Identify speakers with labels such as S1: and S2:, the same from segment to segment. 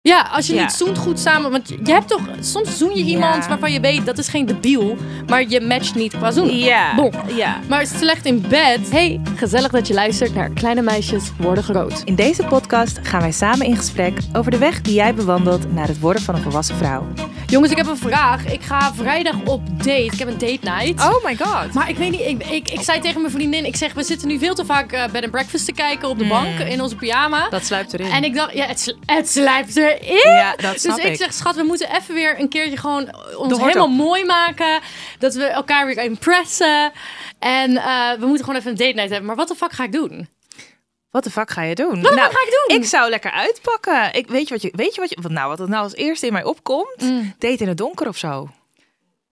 S1: Ja, als je
S2: Ja.
S1: niet zoent goed samen. Want je je hebt toch. Soms zoen je iemand
S2: Ja.
S1: waarvan je weet dat is geen debiel. Maar je matcht niet qua zoenen.
S2: Ja.
S1: Bon.
S2: ja.
S1: Maar slecht in bed. Hey, gezellig dat je luistert naar Kleine Meisjes Worden Groot.
S2: In deze podcast gaan wij samen in gesprek over de weg die jij bewandelt naar het worden van een volwassen vrouw.
S1: Jongens, ik heb een vraag. Ik ga vrijdag op date. Ik heb een date night.
S2: Oh my god.
S1: Maar ik weet niet, ik, ik, ik zei tegen mijn vriendin, ik zeg, we zitten nu veel te vaak eh, bed and breakfast te kijken op de bank in onze pyjama.
S2: Dat sluipt erin.
S1: En ik dacht, ja, het, sl- het slijpt erin.
S2: Ja, dat snap
S1: dus ik
S2: ik.
S1: zeg, schat, we moeten even weer een keertje gewoon ons
S2: hoort
S1: helemaal
S2: op.
S1: mooi maken. Dat we elkaar weer impressen. En eh, we moeten gewoon even een date night hebben. Maar wat de fuck ga ik doen?
S2: Wat de fuck ga je doen?
S1: Wat
S2: nou,
S1: ga ik doen?
S2: ik zou lekker uitpakken. Ik, weet je wat je, weet je wat je, wat nou wat het nou als eerste in mij opkomt? Date in het donker of zo.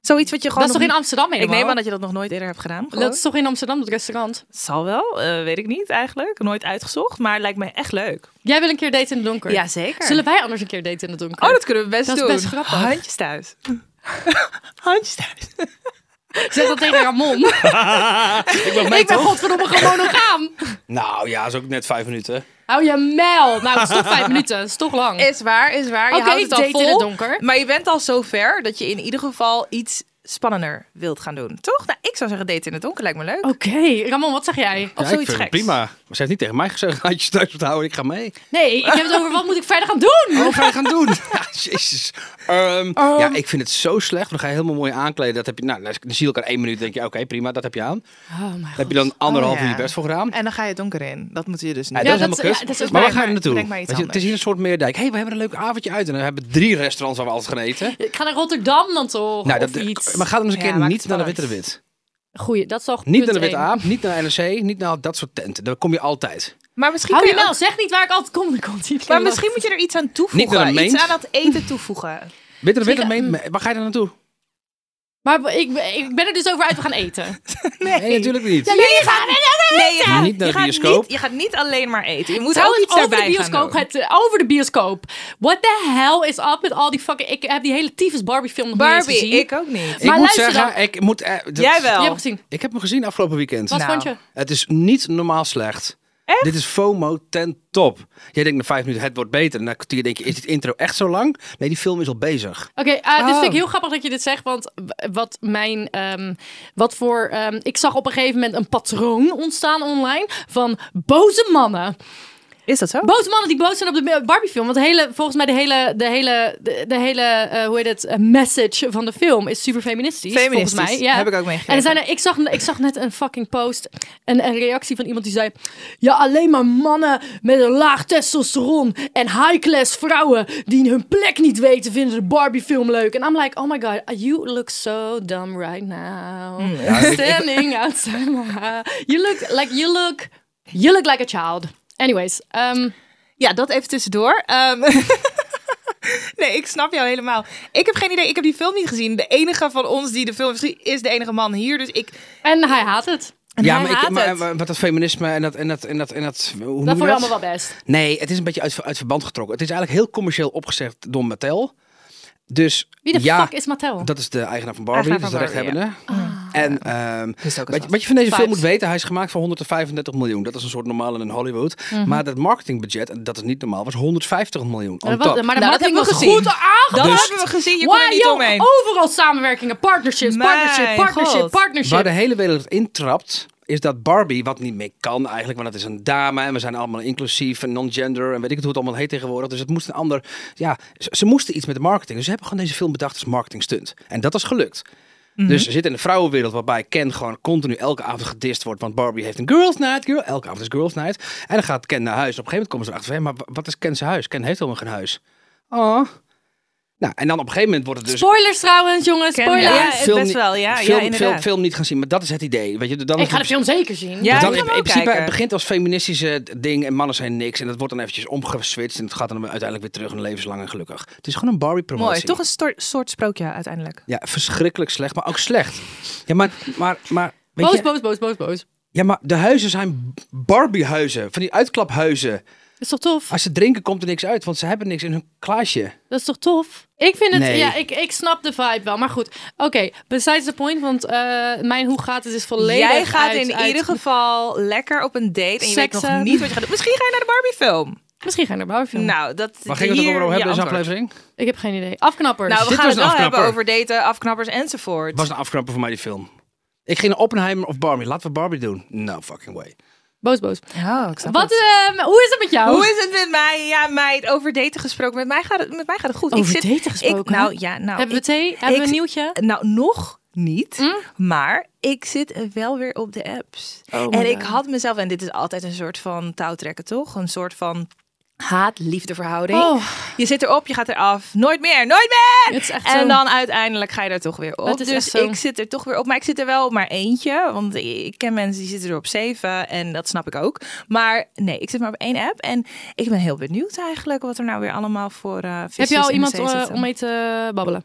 S2: Zoiets wat je
S1: dat
S2: gewoon.
S1: is toch
S2: nog
S1: in Amsterdam
S2: niet- Ik
S1: helemaal?
S2: neem aan dat je dat nog nooit eerder hebt gedaan. gewoon.
S1: Dat is toch in Amsterdam, dat restaurant?
S2: zal wel, eh, weet ik niet eigenlijk. Nooit uitgezocht, maar lijkt me echt leuk.
S1: Jij wil een keer date in het donker?
S2: Jazeker.
S1: Zullen wij anders een keer date in het donker?
S2: Oh, dat kunnen we best
S1: Dat is
S2: doen.
S1: best grappig.
S2: Handjes thuis. Handjes thuis.
S1: Zeg dat tegen Ramon.
S3: Ik ben mee,
S1: ik ben
S3: toch?
S1: godverdomme gewoon monogaam.
S3: Nou ja, is ook net vijf minuten.
S1: Hou je mel. Nou, het is toch vijf minuten. Het is toch lang.
S2: Is waar, is waar. Je
S1: Oké,
S2: houdt het al
S1: date
S2: vol,
S1: in het donker.
S2: Maar je bent al zo ver dat je in ieder geval iets spannender wilt gaan doen. Toch? Nou, ik zou zeggen date in het donker lijkt me leuk.
S1: Oké, Ramon, wat zeg jij?
S2: Of
S3: ja, ik
S2: zoiets
S3: vind het
S2: geks.
S3: prima. Maar ze heeft niet tegen mij gezegd, handjes thuis te houden, ik ga mee. Oh,
S1: Nee, ik heb het over wat moet ik verder gaan doen?
S2: Oh,
S3: Wat ga je gaan doen? ja, jezus. Ehm, Ja, ik vind het zo slecht. want Dan ga je helemaal mooi aankleden. Dat heb je, nou, dan zie je elkaar één minuut denk je, oké, prima, dat heb je aan.
S1: Oh mijn
S3: Daar heb je dan anderhalf
S2: Oh, ja.
S3: uur je best voor gedaan.
S2: En dan ga je het donker in. Dat moeten je dus
S3: Ja,
S2: niet.
S1: Ja,
S3: dat
S1: dat
S3: is helemaal
S1: is-
S3: kut.
S1: ja, dat is-
S3: maar waar
S2: breng
S3: ga je
S2: maar-
S3: naartoe?
S2: breng maar iets
S3: Weet je, het is hier een soort meerdijk. Hé, hey, we hebben een leuk avondje uit. En dan hebben we drie restaurants waar we altijd gaan eten.
S1: Ik ga naar Rotterdam dan toch?
S3: nou,
S1: of iets.
S3: Maar ga dan eens een
S2: Ja,
S3: keer
S2: maakt
S3: niet
S2: het
S3: naar de
S2: spannend.
S3: Witte de Wit.
S1: Goeie, dat is toch
S3: Niet
S1: punt
S3: naar de Witte
S1: één.
S3: Aap, niet naar NRC, niet naar dat soort tenten. Daar kom je altijd.
S2: Maar misschien,
S1: Hou
S2: kun
S1: je
S2: je
S1: wel,
S2: ook-
S1: zeg niet waar ik altijd kom. Dan komt die
S2: maar misschien moet je er iets aan
S3: Niet naar
S2: toevoegen.
S3: de meent.
S2: Iets aan dat eten toevoegen.
S3: Witte de Wit,
S1: Zeker,
S3: dat meen- waar ga je dan naartoe?
S1: Maar ik, ik ben er dus over uit, we gaan eten.
S2: Nee,
S3: Nee, natuurlijk niet.
S1: jullie gaan
S2: Nee, je gaat,
S3: Niet naar
S2: je
S3: de
S2: gaat
S3: bioscoop.
S2: niet- je gaat niet alleen maar eten. Je moet ook
S1: Trouwens,
S2: iets
S1: over de
S2: daarbij gaan
S1: bioscoop.
S2: doen.
S1: Het, eh, over de bioscoop. What the hell is up met al die fucking... Ik heb die hele tyfus Barbie film nog niet eens
S2: Barbie,
S1: gezien.
S2: ik ook niet.
S3: Ik
S1: Maar
S3: moet
S1: luister
S3: zeggen, ik moet... eh, dat-
S2: Jij wel.
S1: Je hebt gezien.
S3: Ik heb hem gezien afgelopen weekend.
S1: Wat
S2: Nou.
S1: vond je?
S3: Het is niet normaal slecht.
S2: Echt?
S3: Dit is FOMO ten top. Jij denkt na vijf minuten, het wordt beter. En na een kwartier denk je, is dit intro echt zo lang? Nee, die film is al bezig.
S1: Oké, eh, dit
S2: Oh.
S1: vind ik heel grappig dat je dit zegt, want w- wat mijn, ehm, wat voor, ehm, ik zag op een gegeven moment een patroon ontstaan online van boze mannen.
S2: Is dat zo?
S1: Boze mannen die boos zijn op de Barbie film, want de hele, volgens mij de hele, de hele, de, de hele, eh, hoe heet het, eh, message van de film is super feministisch,
S2: Feministisch.
S1: volgens mij. Ja.
S2: Heb ik ook
S1: En
S2: meegekregen.
S1: er zijn er, ik, zag, ik zag net een fucking post, een, een reactie van iemand die zei... Ja, alleen maar mannen met een laag testosteron en high-class vrouwen... die hun plek niet weten, vinden de Barbie-film leuk. En I'm like, oh my god, you look so dumb right now.
S3: Hmm,
S1: Standing outside my house. You look like, you look, you look like a child. Anyways, ehm,
S2: Ja, dat even tussendoor. Ehm, nee, ik snap jou helemaal. Ik heb geen idee. Ik heb die film niet gezien. De enige van ons die de film heeft gezien is de enige man hier. Dus ik.
S1: en hij haat het.
S3: ja,
S2: hij
S3: maar, ik,
S2: haat
S3: maar,
S2: het.
S3: maar wat dat feminisme en dat... En dat, en dat, en dat hoe noem je
S1: Dat vond je allemaal wel best.
S3: Nee, het is een beetje uit, uit verband getrokken. Het is eigenlijk heel commercieel opgezet door Mattel. Dus
S1: Wie de
S3: ja,
S1: fuck is Mattel?
S3: dat is de eigenaar van Barbie,
S2: Eigenaar
S3: dat is de
S2: van Barbie,
S3: rechthebbende. En ehm,
S2: Is ook
S3: wat, je- wat je van deze film
S1: Vibes.
S3: moet weten, hij is gemaakt voor 135 miljoen. Dat is een soort normaal in Hollywood. Maar dat marketingbudget, en dat is niet normaal, was 150 miljoen. on
S1: Maar dat-
S3: top.
S1: Maar de
S2: Nou, dat
S1: marketing
S2: hebben we
S1: was
S2: gezien.
S1: goed aangepakt.
S2: Dat hebben we gezien. Je kon er
S1: Wauw,
S2: niet
S1: joh,
S2: omheen.
S1: Overal samenwerkingen, partnerships,
S2: Mijn
S1: partnership, partnership,
S2: God.
S1: partnership.
S3: Waar de hele wereld intrapt, is dat Barbie, wat niet meer kan eigenlijk, want het is een dame en we zijn allemaal inclusief en non-gender en weet ik het hoe het allemaal heet tegenwoordig. Dus het moest een ander, ja, ze, ze moesten iets met de marketing. Dus ze hebben gewoon deze film bedacht als marketing stunt. En dat is gelukt. Dus ze zitten in de vrouwenwereld waarbij Ken gewoon continu elke avond gedist wordt. Want Barbie heeft een girls night. Girl, elke avond is girls night. En dan gaat Ken naar huis. Op een gegeven moment komen ze erachter. Hé, maar wa- wat is Ken's huis? Ken heeft helemaal geen huis. Oh. Nou, en dan op een gegeven moment wordt het dus...
S1: Spoilers trouwens, jongens.
S2: Ken-
S1: Spoilers.
S2: ja, het
S3: film
S2: best
S3: niet-
S2: wel. Ja,
S3: film,
S2: ja
S3: film,
S2: inderdaad.
S3: film niet gaan zien, maar dat is het idee. Weet je, dan
S1: Ik ga de film zeker zien.
S2: Ja,
S3: Dus
S2: ik
S3: dan
S2: ga
S3: in,
S2: hem
S3: in
S2: ook
S3: principe,
S2: kijken.
S3: het begint als feministische ding en mannen zijn niks. En dat wordt dan eventjes omgeswitcht en het gaat dan uiteindelijk weer terug in levenslang en gelukkig. Het is gewoon een Barbie-promotie.
S2: Mooi. Toch een stor- soort sprookje uiteindelijk.
S3: Ja, verschrikkelijk slecht, maar ook slecht. Ja, maar... maar, maar weet
S1: Boos,
S3: je,
S1: boos, boos, boos, boos.
S3: ja, maar de huizen zijn Barbie-huizen. Van die uitklaphuizen.
S1: Dat is toch tof?
S3: Als ze drinken komt er niks uit, want ze hebben niks in hun glaasje.
S1: Dat is toch tof? Ik vind het,
S3: Nee.
S1: ja, ik, ik snap de vibe wel. Maar goed, oké, besides the point, want eh, mijn hoe gaat het is volledig
S2: Jij gaat
S1: uit-
S2: in
S1: uit-
S2: ieder geval lekker op een date en je weet nog
S1: Seksen.
S2: niet wat je gaat doen. Misschien ga je naar de Barbie film.
S1: Misschien ga je naar Barbie film.
S2: Nou, dat
S3: Waar ging het
S2: hier
S3: ook
S2: je
S3: over hebben in deze
S2: antwoord.
S3: aflevering?
S1: Ik heb geen idee. Afknappers.
S2: Nou, we
S3: Dit
S2: gaan
S3: was
S2: het
S3: een
S2: wel
S3: afknapper.
S2: hebben over daten, afknappers enzovoort.
S3: was een afknapper voor mij, die film. Ik ging naar Oppenheimer of Barbie. Laten we Barbie doen. No fucking way.
S1: Boos, boos.
S2: Oh, ik snap
S1: Wat,
S2: het.
S1: ehm, hoe is het met jou?
S2: Hoe is het met mij? Ja, meid, over daten gesproken. Met mij gaat het, met mij gaat het goed.
S1: Over
S2: ik zit,
S1: daten gesproken?
S2: Ik, nou, ja, nou,
S1: Hebben we
S2: ik-
S1: thee? Hebben we
S2: ik-
S1: een nieuwtje? Hm?
S2: Nou, nog niet. Maar ik zit wel weer op de apps.
S1: Oh my
S2: en ik
S1: God.
S2: had mezelf, en dit is altijd een soort van touwtrekken, toch? Een soort van haat-liefde verhouding.
S1: Oh.
S2: Je zit erop, je gaat eraf. Nooit meer, nooit meer!
S1: Het is echt
S2: en
S1: zo.
S2: dan uiteindelijk ga je er toch weer op.
S1: Het is echt
S2: dus
S1: zo.
S2: ik zit er toch weer op. Maar ik zit er wel op maar eentje. Want ik ken mensen die zitten er op zeven. En dat snap ik ook. Maar nee, ik zit maar op één app. En ik ben heel benieuwd eigenlijk wat er nou weer allemaal voor eh
S1: Heb
S2: visjes
S1: je al
S2: in
S1: iemand
S2: de zee
S1: eh,
S2: zitten.
S1: om mee te babbelen?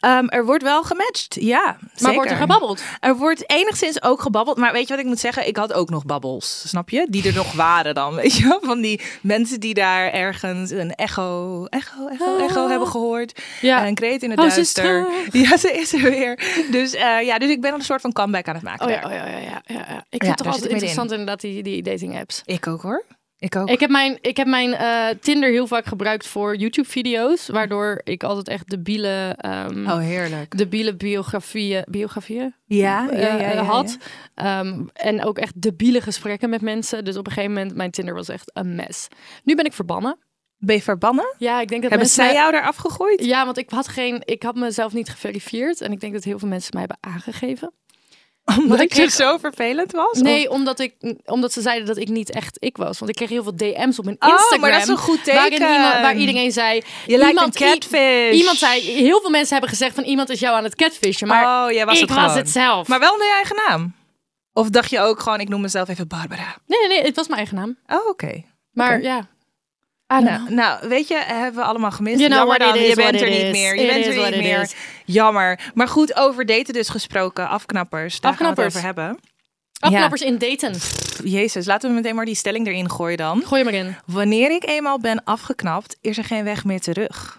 S2: Ehm, er wordt wel gematcht, ja.
S1: Maar wordt er gebabbeld?
S2: Er wordt enigszins ook gebabbeld. Maar weet je wat ik moet zeggen? Ik had ook nog babbels, snap je? Die er nog waren dan, weet je wel? Van die mensen die daar ergens een echo, echo, echo,
S1: Ah.
S2: echo hebben gehoord.
S1: Ja.
S2: Een kreet in het
S1: Oh, ze is
S2: duister.
S1: terug.
S2: Ja, ze is er weer. Dus, eh, ja, dus ik ben een soort van comeback aan het maken
S1: Oh ja,
S2: daar.
S1: oh ja, ja, ja, ja, ja. Ik
S2: Ja,
S1: vind het toch
S2: daar zit ik
S1: altijd
S2: middenin.
S1: interessant inderdaad die, die dating apps.
S2: Ik ook hoor. Ik ook.
S1: Ik heb mijn, ik heb mijn eh, Tinder heel vaak gebruikt voor YouTube-video's. Waardoor ik altijd echt debiele, ehm
S2: Oh, heerlijk.
S1: debiele biografieën, biografieën
S2: Ja, ja,
S1: eh,
S2: ja, ja, ja.
S1: had. Ehm, en ook echt debiele gesprekken met mensen. Dus op een gegeven moment, mijn Tinder was echt een mes. Nu ben ik verbannen.
S2: Ben je verbannen?
S1: Ja, ik denk dat
S2: Hebben
S1: mensen...
S2: zij jou daar afgegooid?
S1: Ja, want ik had, geen, ik had mezelf niet geverifieerd. En ik denk dat heel veel mensen mij hebben aangegeven.
S2: Omdat
S1: ik
S2: ik
S1: kreeg-
S2: zo vervelend was? Of-
S1: Nee, omdat, ik, omdat ze zeiden dat ik niet echt ik was. Want ik kreeg heel veel DM's op mijn
S2: Oh, maar
S1: Instagram.
S2: dat is een goed
S1: Waarin
S2: teken.
S1: iemand, waar iedereen zei...
S2: Je lijkt
S1: iemand,
S2: een catfish.
S1: i- iemand zei... Heel veel mensen hebben gezegd van iemand is jou aan het catfishen. Maar
S2: oh, jij was
S1: ik
S2: het
S1: was
S2: gewoon.
S1: het zelf.
S2: Maar wel onder je eigen naam? Of dacht je ook gewoon, ik noem mezelf even Barbara?
S1: nee, nee, nee, het was mijn eigen naam.
S2: Oh, oké.
S1: Maar
S2: Oké.
S1: ja, I don't know.
S2: Nou, nou, weet je, hebben we allemaal gemist.
S1: Ah, You know
S2: Jammer
S1: what it
S2: dan,
S1: is,
S2: je bent
S1: what
S2: er
S1: it
S2: niet
S1: is.
S2: meer. Je
S1: It
S2: bent
S1: is
S2: er
S1: what
S2: niet
S1: it
S2: meer.
S1: is.
S2: Jammer. Maar goed, over daten dus gesproken. Afknappers. Daar
S1: Afknappers.
S2: gaan we het over hebben.
S1: Afknappers in daten.
S2: Pff, Jezus, laten we meteen maar die stelling erin gooien dan.
S1: Gooi hem erin.
S2: Wanneer ik eenmaal ben afgeknapt, is er geen weg meer terug.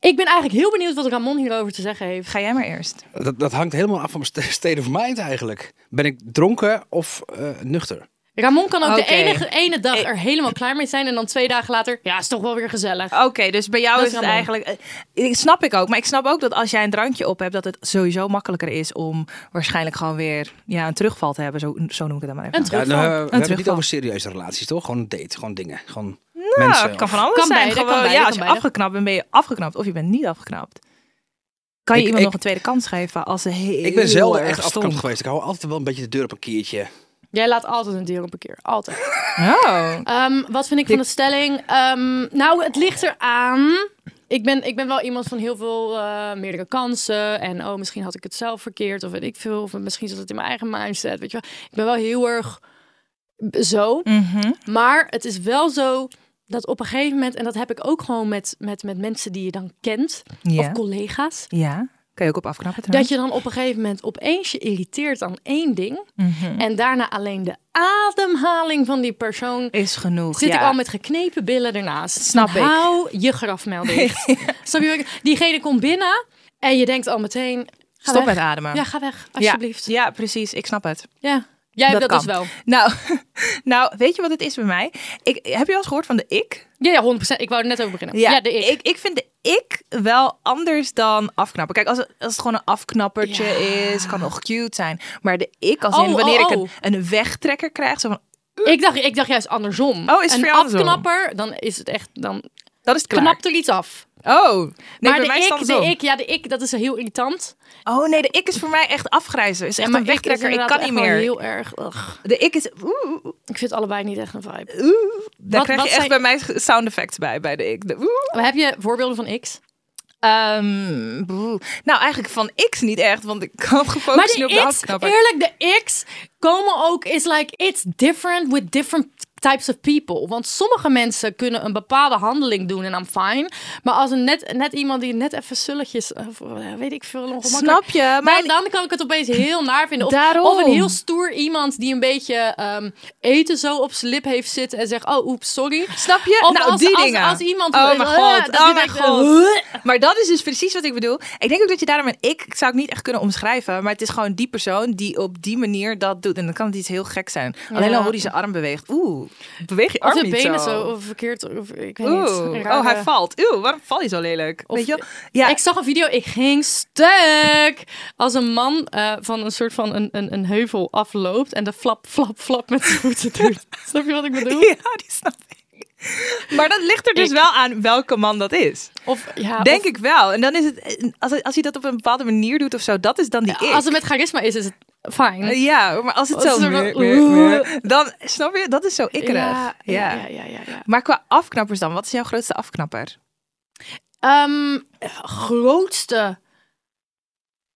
S1: Ik ben eigenlijk heel benieuwd wat Ramon hierover te zeggen heeft.
S2: Ga jij maar eerst.
S3: Dat, dat hangt helemaal af van mijn st- state of mind eigenlijk. Ben ik dronken of eh, nuchter?
S1: Ramon kan ook de
S2: Oké.
S1: enige, ene dag
S2: Ik-
S1: er helemaal klaar mee zijn. En dan twee dagen later, ja, is toch wel weer gezellig.
S2: Oké, dus bij jou
S1: Dat
S2: is,
S1: is
S2: het
S1: jammer.
S2: eigenlijk. eh, ik snap ik ook, maar ik snap ook dat als jij een drankje op hebt, dat het sowieso makkelijker is om waarschijnlijk gewoon weer ja, een terugval te hebben. Zo, zo noem ik het dan maar even.
S1: Een terugval.
S3: nou, eh, we hebben het niet
S2: terugval.
S3: over serieuze relaties, toch? Gewoon een date, gewoon dingen. Gewoon
S2: Ja,
S3: mensen.
S2: het kan
S3: of-
S2: van alles
S1: Kan
S2: zijn.
S1: beide, kan
S2: Gewoon,
S1: beide,
S2: ja,
S1: kan
S2: als je
S1: beide.
S2: afgeknapt bent, ben je afgeknapt of je bent niet afgeknapt. Kan je
S3: Ik-
S2: iemand
S3: ik-
S2: nog een tweede kans geven als ze heel
S3: Ik ben zelden
S2: erg
S3: echt afknapt
S2: stonk?
S3: geweest. Ik hou altijd wel een beetje de deur op een kiertje.
S1: Jij laat altijd een deur op een keer. Altijd.
S2: Oh.
S1: Ehm, wat vind ik van de stelling? Ehm, nou, het ligt eraan. Ik ben, ik ben wel iemand van heel veel eh, meerdere kansen. En oh, misschien had ik het zelf verkeerd. Of weet ik veel. Of misschien zat het in mijn eigen mindset. Weet je wel. Ik ben wel heel erg zo. Maar het is wel zo dat op een gegeven moment... En dat heb ik ook gewoon met, met, met mensen die je dan kent.
S2: Ja.
S1: Of collega's.
S2: ja, kan je ook op afknappen
S1: Dat
S2: trouwens.
S1: je dan op een gegeven moment opeens je irriteert aan één ding. En daarna alleen de ademhaling van die persoon
S2: Is genoeg,
S1: zit
S2: ja.
S1: ik al met geknepen billen ernaast.
S2: Snap
S1: Dan
S2: ik.
S1: Hou je grafmel dicht. Snap je? wat ik- Diegene komt binnen en je denkt al meteen... Ga
S2: Stop
S1: weg.
S2: met ademen.
S1: Ja, ga weg,
S2: Ja.
S1: alsjeblieft. Ja.
S2: Ja, precies. Ik snap het.
S1: Jij hebt dat,
S2: kan.
S1: dus wel.
S2: Nou, nou, weet je wat het is bij mij? Ik, heb je al eens gehoord van de ik?
S1: Ja, ja, 100%. Ik wou er net over beginnen. Ja, de ik.
S2: ik. Ik vind de ik wel anders dan afknappen. Kijk, als het, als het gewoon een afknappertje is, kan nog cute zijn. Maar de ik, als
S1: Oh,
S2: in wanneer
S1: oh,
S2: ik
S1: oh.
S2: een, een wegtrekker krijg, zo van,
S1: Ik dacht, ik dacht juist andersom.
S2: Oh, is het
S1: Een
S2: voor jou andersom?
S1: afknapper, dan is het echt... Dan
S2: dat is het klaar.
S1: knapt er iets af.
S2: Oh, nee,
S1: maar
S2: bij
S1: de
S2: mij is het
S1: ik, de
S2: andersom.
S1: ik, ja, de ik, dat is heel irritant.
S2: Oh nee, de ik is voor mij echt afgrijzen. Is echt
S1: maar
S2: een wegtrekker. Ik, kan niet meer.
S1: heel erg... ugh.
S2: De ik is. Oeh, oeh, oeh.
S1: Ik vind het allebei niet echt een vibe.
S2: Daar
S1: Wat-
S2: krijg
S1: wat
S2: je echt
S1: zijn-
S2: bij mij sound effects bij bij de ik. De oeh.
S1: Maar heb je voorbeelden van X?
S2: Ehm, boe. nou, eigenlijk van X niet echt, want ik kan gefocust
S1: Maar
S2: nu op
S1: de
S2: de
S1: X,
S2: afknapper.
S1: eerlijk, de X komen ook is like it's different with different types of people. Want sommige mensen kunnen een bepaalde handeling doen en I'm fine. Maar als een net, net iemand die net even zulletjes, of, eh, weet ik veel, ongemakkelijk.
S2: Snap je?
S1: Maar
S2: Mijn-
S1: dan kan ik het opeens heel naar vinden. Of,
S2: Daarom.
S1: of een heel stoer iemand die een beetje ehm, eten zo op zijn lip heeft zitten en zegt, oh, oeps, sorry.
S2: Snap je?
S1: Of
S2: nou,
S1: als-
S2: die
S1: als-
S2: dingen.
S1: als iemand-
S2: Oh mijn
S1: eh,
S2: god.
S1: dat
S2: oh
S1: die
S2: mijn
S1: denkt,
S2: god. Maar dat is dus precies wat ik bedoel. Ik denk ook dat je daarom een ik, ik zou het niet echt kunnen omschrijven, maar het is gewoon die persoon die op die manier dat doet. En dan kan het iets heel gek zijn. Alleen al hoe hij zijn arm beweegt. Oeh, beweeg je
S1: Of
S2: arm
S1: zijn
S2: niet
S1: benen zo, of verkeerd, of, ik weet niet. eh.
S2: Oeh,
S1: Een
S2: oh, hij
S1: rare-
S2: valt. Oeh, waarom val je zo lelijk?
S1: Of-
S2: Weet je wel? Ja,
S1: Ik zag een video, ik ging stuk. Als een man eh, van een soort van een, een, een heuvel afloopt en de flap, flap, flap met zijn voeten doet. Snap je wat ik bedoel?
S2: ja, die snap ik. Maar dat ligt er dus
S1: Ik-
S2: wel aan welke man dat is.
S1: Of ja,
S2: Denk
S1: of-
S2: ik wel. En dan is het, eh, als hij, als hij dat op een bepaalde manier doet of zo, dat is dan die ik. Eh,
S1: als het met charisma is, is het fijn.
S2: Ja, maar als het
S1: Als
S2: zo...
S1: het er wel-
S2: dan, snap je? Dat is zo ikkerig. Ja,
S1: ja, ja, ja, ja, ja, ja.
S2: Maar qua afknappers dan, wat is jouw grootste afknapper?
S1: Ehm, grootste.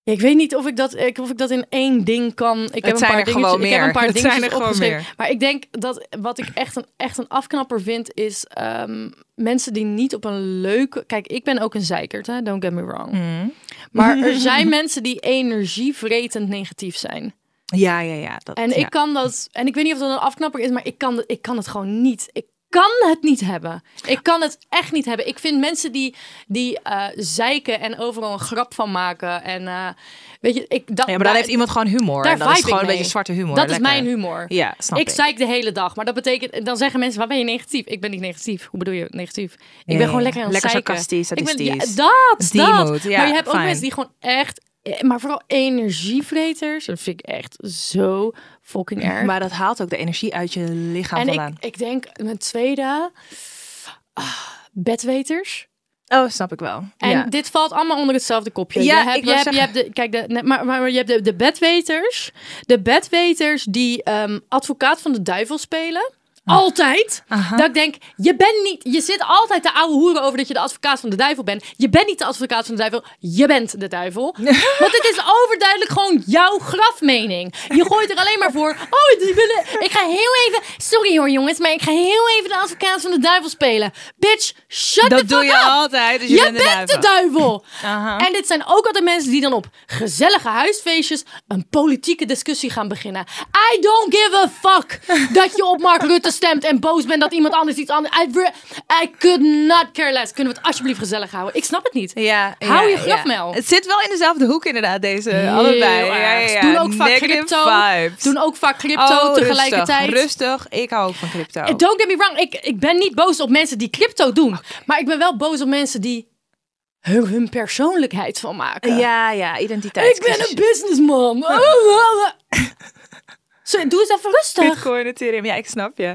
S1: Ik weet niet of ik dat, ik- of ik dat in één ding kan. Ik heb
S2: zijn
S1: een
S2: er
S1: paar dingetjes,
S2: gewoon
S1: Ik heb
S2: meer.
S1: een paar
S2: Het
S1: dingetjes
S2: zijn er gewoon
S1: opgeschreven.
S2: meer.
S1: Maar ik denk dat wat ik echt een, echt een afknapper vind is ehm, mensen die niet op een leuke. Kijk, ik ben ook een zeikert, hè? Don't get me wrong.
S2: Mm.
S1: Maar er zijn mensen die energievretend negatief zijn.
S2: Ja, ja, ja. Dat,
S1: En
S2: ja.
S1: ik kan dat. En ik weet niet of dat een afknapper is, maar ik kan, ik kan het gewoon niet. Ik kan het niet hebben. Ik kan het echt niet hebben. Ik vind mensen die, die eh, zeiken en overal een grap van maken. En eh, weet je, ik dat.
S2: Ja, maar dan heeft iemand gewoon humor.
S1: daar
S2: en dat is
S1: vibe ik
S2: gewoon een
S1: mee.
S2: beetje zwarte humor.
S1: Dat
S2: Lekker.
S1: is mijn humor.
S2: Ja, snap
S1: ik
S2: ik.
S1: zeik de hele dag. Maar dat betekent, dan zeggen mensen, waar ben je negatief? Ik ben niet negatief. Hoe bedoel je negatief? Ik ben
S2: ja,
S1: gewoon
S2: ja.
S1: lekker aan het
S2: Lekker
S1: zeiken.
S2: sarcastisch,
S1: Ik ben, ja,
S2: sadistisch.
S1: dat,
S2: Die
S1: dat.
S2: mood, ja,
S1: maar je hebt ook
S2: fijn.
S1: mensen die gewoon echt, eh, maar vooral energievreters. Dat vind ik echt zo fucking erg.
S2: Maar dat haalt ook de energie uit je lichaam
S1: en ik,
S2: vandaan.
S1: ik denk, mijn tweede, ah, bedweters.
S2: Oh, snap ik wel.
S1: En
S2: ja.
S1: dit valt allemaal onder hetzelfde kopje.
S2: Ja,
S1: je hebt,
S2: ik
S1: je
S2: wou
S1: hebt, je hebt de, kijk, de, nee, maar, maar, maar je hebt de, de bedweters. De bedweters die ehm, advocaat van de duivel spelen.
S2: Ah.
S1: Altijd. Dat ik denk, je bent niet, je zit altijd te ouwe hoeren over dat je de advocaat van de duivel bent. Je bent niet de advocaat van de duivel, je bent de duivel. Want het is overduidelijk gewoon jouw grafmening. Je gooit er alleen maar voor, oh, die willen- ik ga heel even, sorry hoor jongens, maar ik ga heel even de advocaat van de duivel spelen. Bitch, shut the
S2: dat
S1: fuck
S2: doe je
S1: up.
S2: altijd. Dus je,
S1: Je bent, de
S2: duivel.
S1: duivel!
S2: Aha.
S1: En dit zijn ook altijd mensen die dan op gezellige huisfeestjes een politieke discussie gaan beginnen. I don't give a fuck dat je op Mark Rutte stemt en boos bent dat iemand anders iets anders... I, re- I could not care less. Kunnen we het alsjeblieft gezellig houden? Ik snap het niet.
S2: Ja,
S1: Hou
S2: ja,
S1: je
S2: ja.
S1: grafmel.
S2: Het zit wel in dezelfde hoek inderdaad, deze
S1: Heel
S2: allebei.
S1: erg.
S2: Ja, ja, ja.
S1: Doen ook vaak
S2: Negative
S1: crypto.
S2: vibes. Oh,
S1: Doen ook vaak crypto tegelijkertijd. Eh,
S2: Rustig, rustig. Ik hou ook van crypto.
S1: Don't get me wrong, ik, ik ben niet boos op mensen die crypto doen. Maar ik ben wel boos op mensen die hun, hun persoonlijkheid van maken.
S2: Ja, ja, identiteit.
S1: Ik ben een businessman. Oh, oh, oh. Zo, doe eens even rustig.
S2: Bitcoin, Ethereum. Ja, ik snap je.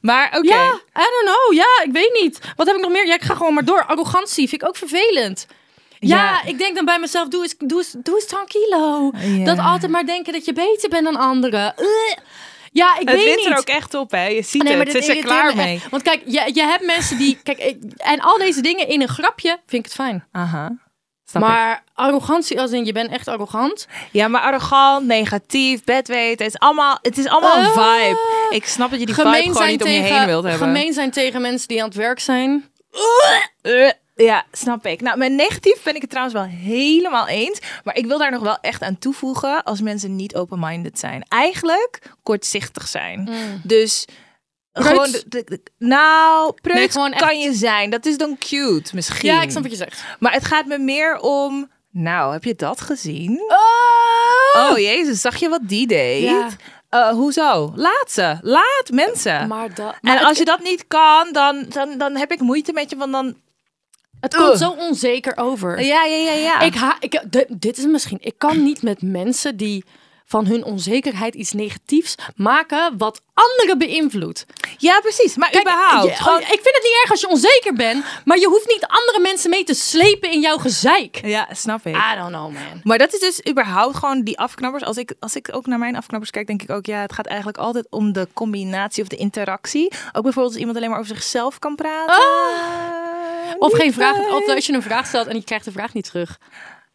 S2: Maar oké.
S1: Ja, I don't know. Ja, ik weet niet. Wat heb ik nog meer? Ja, ik ga gewoon maar door. Arrogantie vind ik ook vervelend. Ja,
S2: Ja.
S1: ik denk dan bij mezelf, doe eens, doe eens, doe eens tranquilo.
S2: Ja.
S1: Dat altijd maar denken dat je beter bent dan anderen. Eh. Ja, ik
S2: Het
S1: weet
S2: wint
S1: niet.
S2: er ook echt op, hè? Je ziet het. Ze
S1: dit
S2: is er
S1: irriteert
S2: klaar
S1: me
S2: mee.
S1: echt. Want kijk, je, je hebt mensen die... Kijk, ik- en al deze dingen in een grapje vind ik het fijn.
S2: Aha. Ah, Snap ik.
S1: maar arrogantie als in, je bent echt arrogant.
S2: Ja, maar arrogant, negatief, bedweten. Het is allemaal, het is allemaal een
S1: Eh,
S2: vibe. Ik snap dat je die vibe gewoon niet om je heen wilt hebben.
S1: Gemeen zijn tegen mensen die aan het werk zijn.
S2: Eh, ja, snap ik. Nou, met negatief ben ik het trouwens wel helemaal eens. Maar ik wil daar nog wel echt aan toevoegen als mensen niet open-minded zijn. Eigenlijk kortzichtig zijn. Dus
S1: Mm. Preuts.
S2: gewoon... de- de- de- nou, preuts
S1: Nee, gewoon
S2: kan
S1: echt-
S2: je zijn. Dat is dan cute misschien.
S1: Ja, ik snap wat je zegt.
S2: Maar het gaat me meer om... Nou, heb je dat gezien? Oh jezus, zag je wat die deed?
S1: Ja.
S2: Eh, hoezo? Laat ze. Laat mensen.
S1: Maar dat...
S2: en als je dat niet kan, dan, dan, dan heb ik moeite met je. Want dan
S1: Het komt
S2: Ugh.
S1: zo onzeker over.
S2: Ja, ja, ja, ja.
S1: Ik ha ik, d- dit is misschien. Ik kan niet met mensen die van hun onzekerheid iets negatiefs maken wat anderen beïnvloedt.
S2: ja, precies. Maar
S1: Kijk,
S2: überhaupt.
S1: je-
S2: gewoon-
S1: ik vind het niet erg als je onzeker bent, maar je hoeft niet andere mensen mee te slepen in jouw gezeik.
S2: ja, snap ik.
S1: I don't know, man.
S2: Maar dat is dus überhaupt gewoon die afknappers. Als ik, als ik ook naar mijn afknappers kijk, denk ik ook, ja, het gaat eigenlijk altijd om de combinatie of de interactie. Ook bijvoorbeeld als iemand alleen maar over zichzelf kan praten.
S1: Ah. Of
S2: Niet
S1: geen vraag,
S2: leuk.
S1: of als je een vraag stelt en je krijgt de vraag niet terug.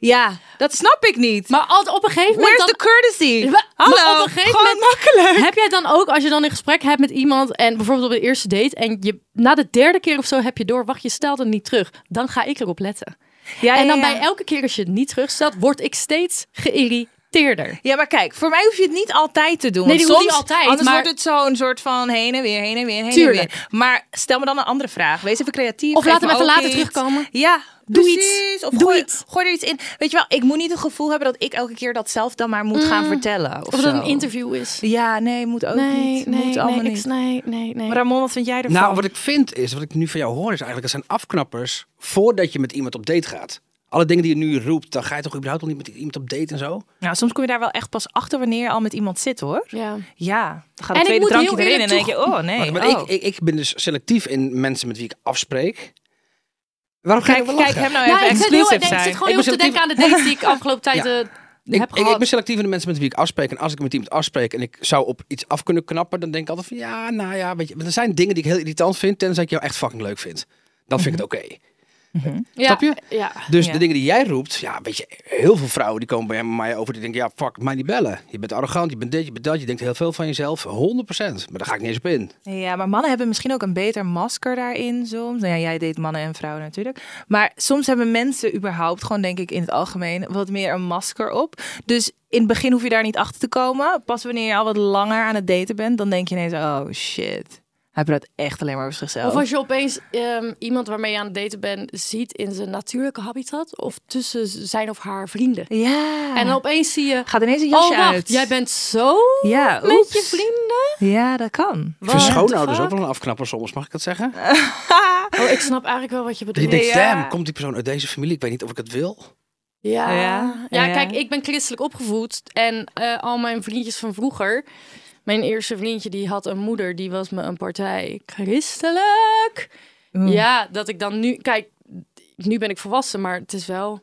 S2: Ja, dat snap ik niet.
S1: Maar altijd op een gegeven moment.
S2: Where's
S1: dan-
S2: the courtesy?
S1: Maar- maar
S2: Dus Hallo,
S1: op een gegeven
S2: gewoon
S1: moment-
S2: makkelijk.
S1: Heb jij dan ook, als je dan een gesprek hebt met iemand en bijvoorbeeld op de eerste date en je, na de derde keer of zo heb je door, wacht, je stelt het niet terug, dan ga ik erop letten.
S2: Ja,
S1: en dan
S2: ja, ja.
S1: bij elke keer als je het niet terugstelt, word ik steeds geïrriteerder.
S2: Ja, maar kijk, voor mij hoef je het niet altijd te doen.
S1: Nee,
S2: want
S1: die hoeft niet
S2: soms-
S1: altijd,
S2: Anders
S1: maar-
S2: wordt het zo'n soort van heen en weer, heen en weer, heen
S1: Tuurlijk.
S2: en weer. Maar stel me dan een andere vraag. Wees even creatief.
S1: Of
S2: geef
S1: laat
S2: me
S1: hem even
S2: ook
S1: later
S2: iets.
S1: terugkomen.
S2: Ja,
S1: Doe
S2: precies.
S1: iets.
S2: Of
S1: Doe
S2: gooi,
S1: iets.
S2: gooi er iets in. Weet je wel, ik moet niet het gevoel hebben dat ik elke keer dat zelf dan maar moet gaan vertellen. Of,
S1: Mm. Of dat
S2: zo.
S1: een interview is.
S2: Ja, nee, moet ook
S1: Nee,
S2: niet.
S1: nee,
S2: moet allemaal
S1: nee, ik,
S2: niet.
S1: nee, nee, nee.
S2: Ramon, wat vind jij ervan?
S3: Nou, wat ik vind is, wat ik nu van jou hoor, is eigenlijk dat zijn afknappers voordat je met iemand op date gaat. Alle dingen die je nu roept, dan ga je toch überhaupt nog niet met iemand op date en zo?
S2: Nou, soms kom je daar wel echt pas achter wanneer je al met iemand zit, hoor.
S1: ja.
S2: Ja, dan
S1: En
S2: gaat
S1: ik
S2: het tweede
S1: moet heel
S2: drankje erin en
S1: eerlijk
S2: dan denk je, oh nee.
S3: Wacht, maar
S2: oh.
S3: ik, ik, ik ben dus selectief in mensen met wie ik afspreek. Waarom ga je
S2: Kijk,
S3: nou wel
S2: kijk
S3: lachen?
S2: hem nou
S1: Ja,
S2: even
S1: ik, zit heel,
S2: exclusive
S1: nee, ik
S2: zijn.
S1: zit gewoon
S3: Ik
S1: heel erg
S3: ben
S1: te denken aan de dates die ik afgelopen tijd eh,
S3: Ja. Ik,
S1: heb
S3: ik, ik
S1: gehad.
S3: ben selectief in de mensen met wie ik afspreek. En als ik met iemand afspreek en ik zou op iets af kunnen knappen, dan denk ik altijd van ja, nou ja, weet je. Want er zijn dingen die ik heel irritant vind, tenzij ik jou echt fucking leuk vind. Dan vind ik het oké.
S1: ja,
S3: snap je?
S1: Mhm. Ja.
S3: Dus
S2: Ja.
S3: de dingen die jij roept, ja, weet je, heel veel vrouwen die komen bij mij over die denken, ja, fuck, mij niet bellen. Je bent arrogant, je bent dit, je bent dat, je denkt heel veel van jezelf, 100%. Maar daar ga ik niet eens op in.
S2: Ja, maar mannen hebben misschien ook een beter masker daarin soms. Nou ja, jij deed mannen en vrouwen natuurlijk. Maar soms hebben mensen überhaupt gewoon, denk ik, in het algemeen wat meer een masker op. Dus in het begin hoef je daar niet achter te komen. Pas wanneer je al wat langer aan het daten bent, dan denk je ineens, oh shit. Hij praat echt alleen maar over zichzelf.
S1: Of als je opeens ehm, iemand waarmee je aan het daten bent ziet in zijn natuurlijke habitat of tussen zijn of haar vrienden.
S2: Ja.
S1: En dan opeens zie je,
S2: gaat ineens een
S1: oh
S2: jasje
S1: wacht,
S2: uit.
S1: jij bent zo
S2: ja,
S1: met je
S2: oeps.
S1: vrienden?
S2: Ja, dat kan.
S3: Ik vind
S1: What the
S3: schoonouders ook
S1: fuck? Eh,
S3: wel een afknapper soms, mag ik dat zeggen?
S1: Oh, ik snap eigenlijk wel wat je
S3: Dat je
S1: bedoelt.
S3: denkt,
S2: Ja.
S3: damn, komt die persoon uit deze familie? Ik weet niet of ik het wil.
S1: Ja.
S2: Ja,
S1: Ja,
S2: ja.
S1: kijk, ik ben christelijk opgevoed en eh, al mijn vriendjes van vroeger. Mijn eerste vriendje die had een moeder, die was me een partij christelijk. Ja, dat ik dan nu, kijk, nu ben ik volwassen, maar het is wel.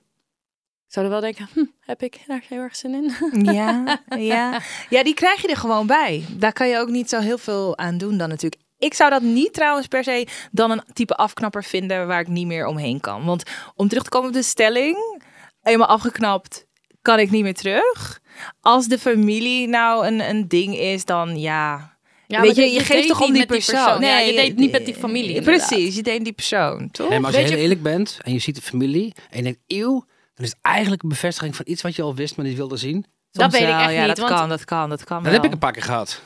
S1: Ik zou er wel denken, hm, heb ik daar heel erg zin in?
S2: Ja, ja. ja, die krijg je er gewoon bij. Daar kan je ook niet zo heel veel aan doen dan natuurlijk. Ik zou dat niet trouwens per se dan een type afknapper vinden waar ik niet meer omheen kan. Want om terug te komen op de stelling, eenmaal afgeknapt kan ik niet meer terug. Als de familie nou een, een ding is, dan ja.
S1: Ja,
S2: Weet
S1: maar
S2: je, je, geeft
S1: deed
S2: toch om
S1: niet
S2: die
S1: met
S2: persoon. eh,
S1: Nee, je deed niet met die familie. inderdaad.
S2: Precies, je deed die persoon, toch?
S3: Nee, maar als je
S1: Weet
S3: heel
S1: je-
S3: eerlijk bent en je ziet de familie en je denkt, eeuw, dan is het eigenlijk een bevestiging van iets wat je al wist, maar niet wilde zien.
S1: Dat
S2: Soms
S1: weet ik
S2: wel,
S1: echt
S2: ja,
S1: niet,
S2: Dat
S1: want-
S2: kan, dat kan, dat kan.
S3: Dat
S2: wel.
S3: heb ik een paar keer gehad.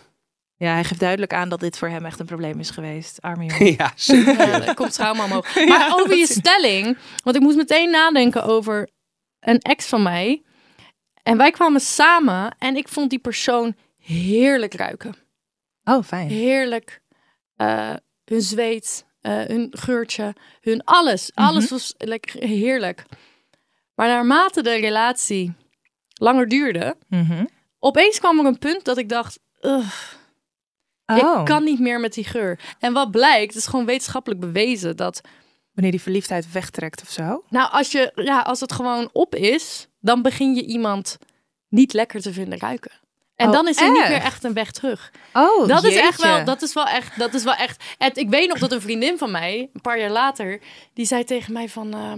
S2: Ja, hij geeft duidelijk aan dat dit voor hem echt een probleem is geweest. Arme jongen.
S3: ja, zeker.
S1: Ja, er komt trauma omhoog. Maar over je stelling, want ik moest meteen nadenken over een ex van mij. En wij kwamen samen en ik vond die persoon heerlijk ruiken.
S2: Oh, fijn.
S1: Heerlijk. Eh, hun zweet, eh, hun geurtje, hun alles. Alles was lekker heerlijk. Maar naarmate de relatie langer duurde, opeens kwam er een punt dat ik dacht, "Ugh,
S2: Oh.
S1: ik kan niet meer met die geur. En wat blijkt, het is gewoon wetenschappelijk bewezen dat
S2: Wanneer die verliefdheid wegtrekt of zo.
S1: Nou, als, je, ja, als het gewoon op is, dan begin je iemand niet lekker te vinden ruiken. En
S2: Oh,
S1: dan is er niet
S2: echt?
S1: meer echt een weg terug.
S2: Oh,
S1: Dat is echt wel, dat is wel echt, dat is wel echt. En ik weet nog dat een vriendin van mij, een paar jaar later, die zei tegen mij van, eh,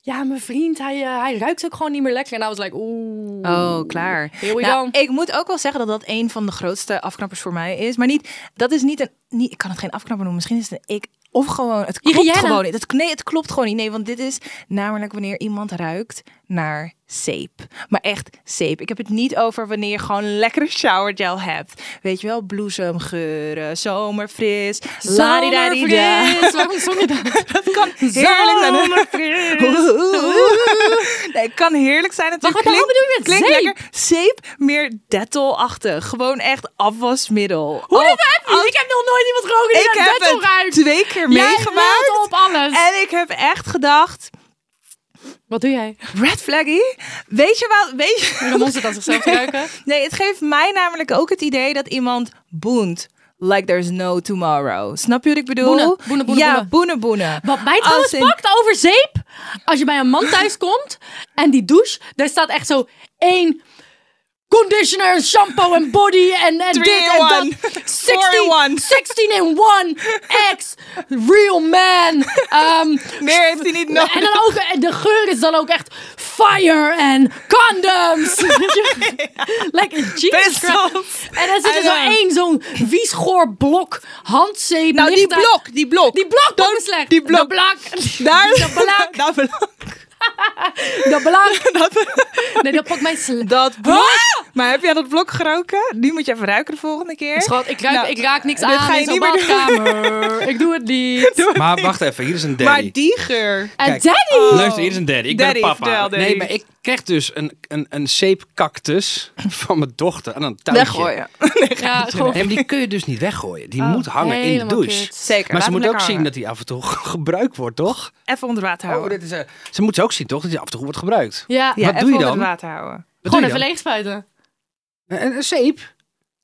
S1: ja, mijn vriend, hij, eh, hij ruikt ook gewoon niet meer lekker. En I was like, oeh.
S2: Oh, klaar.
S1: Here we
S2: Nou,
S1: go.
S2: ik moet ook wel zeggen dat dat een van de grootste afknappers voor mij is. Maar niet, dat is niet een, niet, ik kan het geen afknapper noemen. Misschien is het een ik. Of gewoon, het klopt
S1: Hygiëne.
S2: gewoon niet. Het, nee, het klopt gewoon niet. Nee, want dit is namelijk wanneer iemand ruikt naar zeep. Maar echt zeep. Ik heb het niet over wanneer je gewoon lekkere showergel hebt. Weet je wel, bloesemgeuren, zomerfris. ladidadida.
S1: Zomerfris. Waarom zong je dat?
S2: Heerlijk. zijn. Oeh, oeh, oeh. Het kan heerlijk zijn natuurlijk.
S1: Wacht, wat de hel
S2: Klinkt-
S1: bedoel je met
S2: klinkt
S1: zeep?
S2: lekker. Zeep, meer dettelachtig. Gewoon echt afwasmiddel.
S1: Hoe
S2: Oh,
S1: dit heb je?
S2: als-
S1: Ik heb nog nooit iemand geroken die
S2: ik
S1: naar
S2: heb
S1: Dettel
S2: het
S1: ruikt.
S2: twee keer
S1: Jij
S2: meegemaakt.
S1: lult op alles.
S2: En ik heb echt gedacht,
S1: Wat doe jij?
S2: red flaggy. Weet je wel, weet je...
S1: Ramon zit aan zichzelf te ruiken.
S2: Nee, het geeft mij namelijk ook het idee dat iemand boent. Like there's no tomorrow. Snap je wat ik bedoel?
S1: Boenen, boenen, boenen,
S2: ja,
S1: boenen.
S2: boenen, boenen.
S1: Wat mij
S2: Als
S1: trouwens
S2: in-
S1: pakt over zeep. Als je bij een man thuis komt en die douche, daar staat echt zo één conditioner, en shampoo en body en, en dit
S2: Three in
S1: en dat.
S2: one. Four in
S1: 16,
S2: one.
S1: 16 in one. X. Real man. Ehm,
S2: Meer heeft hij niet nodig.
S1: en dan ook, en de geur is dan ook echt fire en condoms. like Jesus Christ.
S2: Pistols.
S1: En dan zit er
S2: I
S1: zo
S2: know.
S1: één zo'n wiesgoor blok handzeep.
S2: Nou, die
S1: ligt daar.
S2: blok, die blok.
S1: Die blok
S2: Dan-
S1: dat is slecht.
S2: Die blok.
S1: De blok.
S2: Daar.
S1: De blok.
S2: Dat blok.
S1: De blok. Nee, dat pakt mij slecht.
S2: Dat blok. Maar heb jij dat blok geroken? Nu moet je even ruiken de volgende keer.
S1: Schat, ik, ruik,
S2: Nou,
S1: ik raak niks
S2: dit
S1: aan
S2: ga je
S1: in zo'n
S2: niet meer doen.
S1: badkamer. ik doe het niet.
S4: Maar wacht even, hier is een
S2: Maar
S4: daddy.
S2: die geur.
S1: En
S4: Kijk.
S1: Danny.
S2: Oh.
S4: Luister, hier is een daddy. Ik
S2: Daddy,
S4: ben een papa.
S2: vertel, daddy.
S4: Nee, maar ik kreeg dus een, een, een zeepcactus van mijn dochter aan een touwtje.
S2: Weggooien.
S1: Ja, gewoon
S4: En die kun je dus niet weggooien. Die moet hangen in de
S1: helemaal
S4: douche.
S1: kut.
S2: Zeker.
S4: Maar
S2: laat
S4: ze
S2: hem
S4: moet
S2: lekker
S4: ook zien
S2: hangen.
S4: dat die af en toe gebruikt wordt, toch?
S2: Even onder water
S4: Oh,
S2: houden.
S4: dit is, eh, ze moet ze ook zien, toch? Dat die af en toe wordt gebruikt.
S1: Ja,
S2: Ja,
S4: Wat
S2: even
S4: doe je
S2: onder
S4: dan?
S2: het water houden.
S4: Wat doe
S1: gewoon
S4: je
S1: even
S4: dan?
S1: leeg spuiten.
S4: Een, een zeep.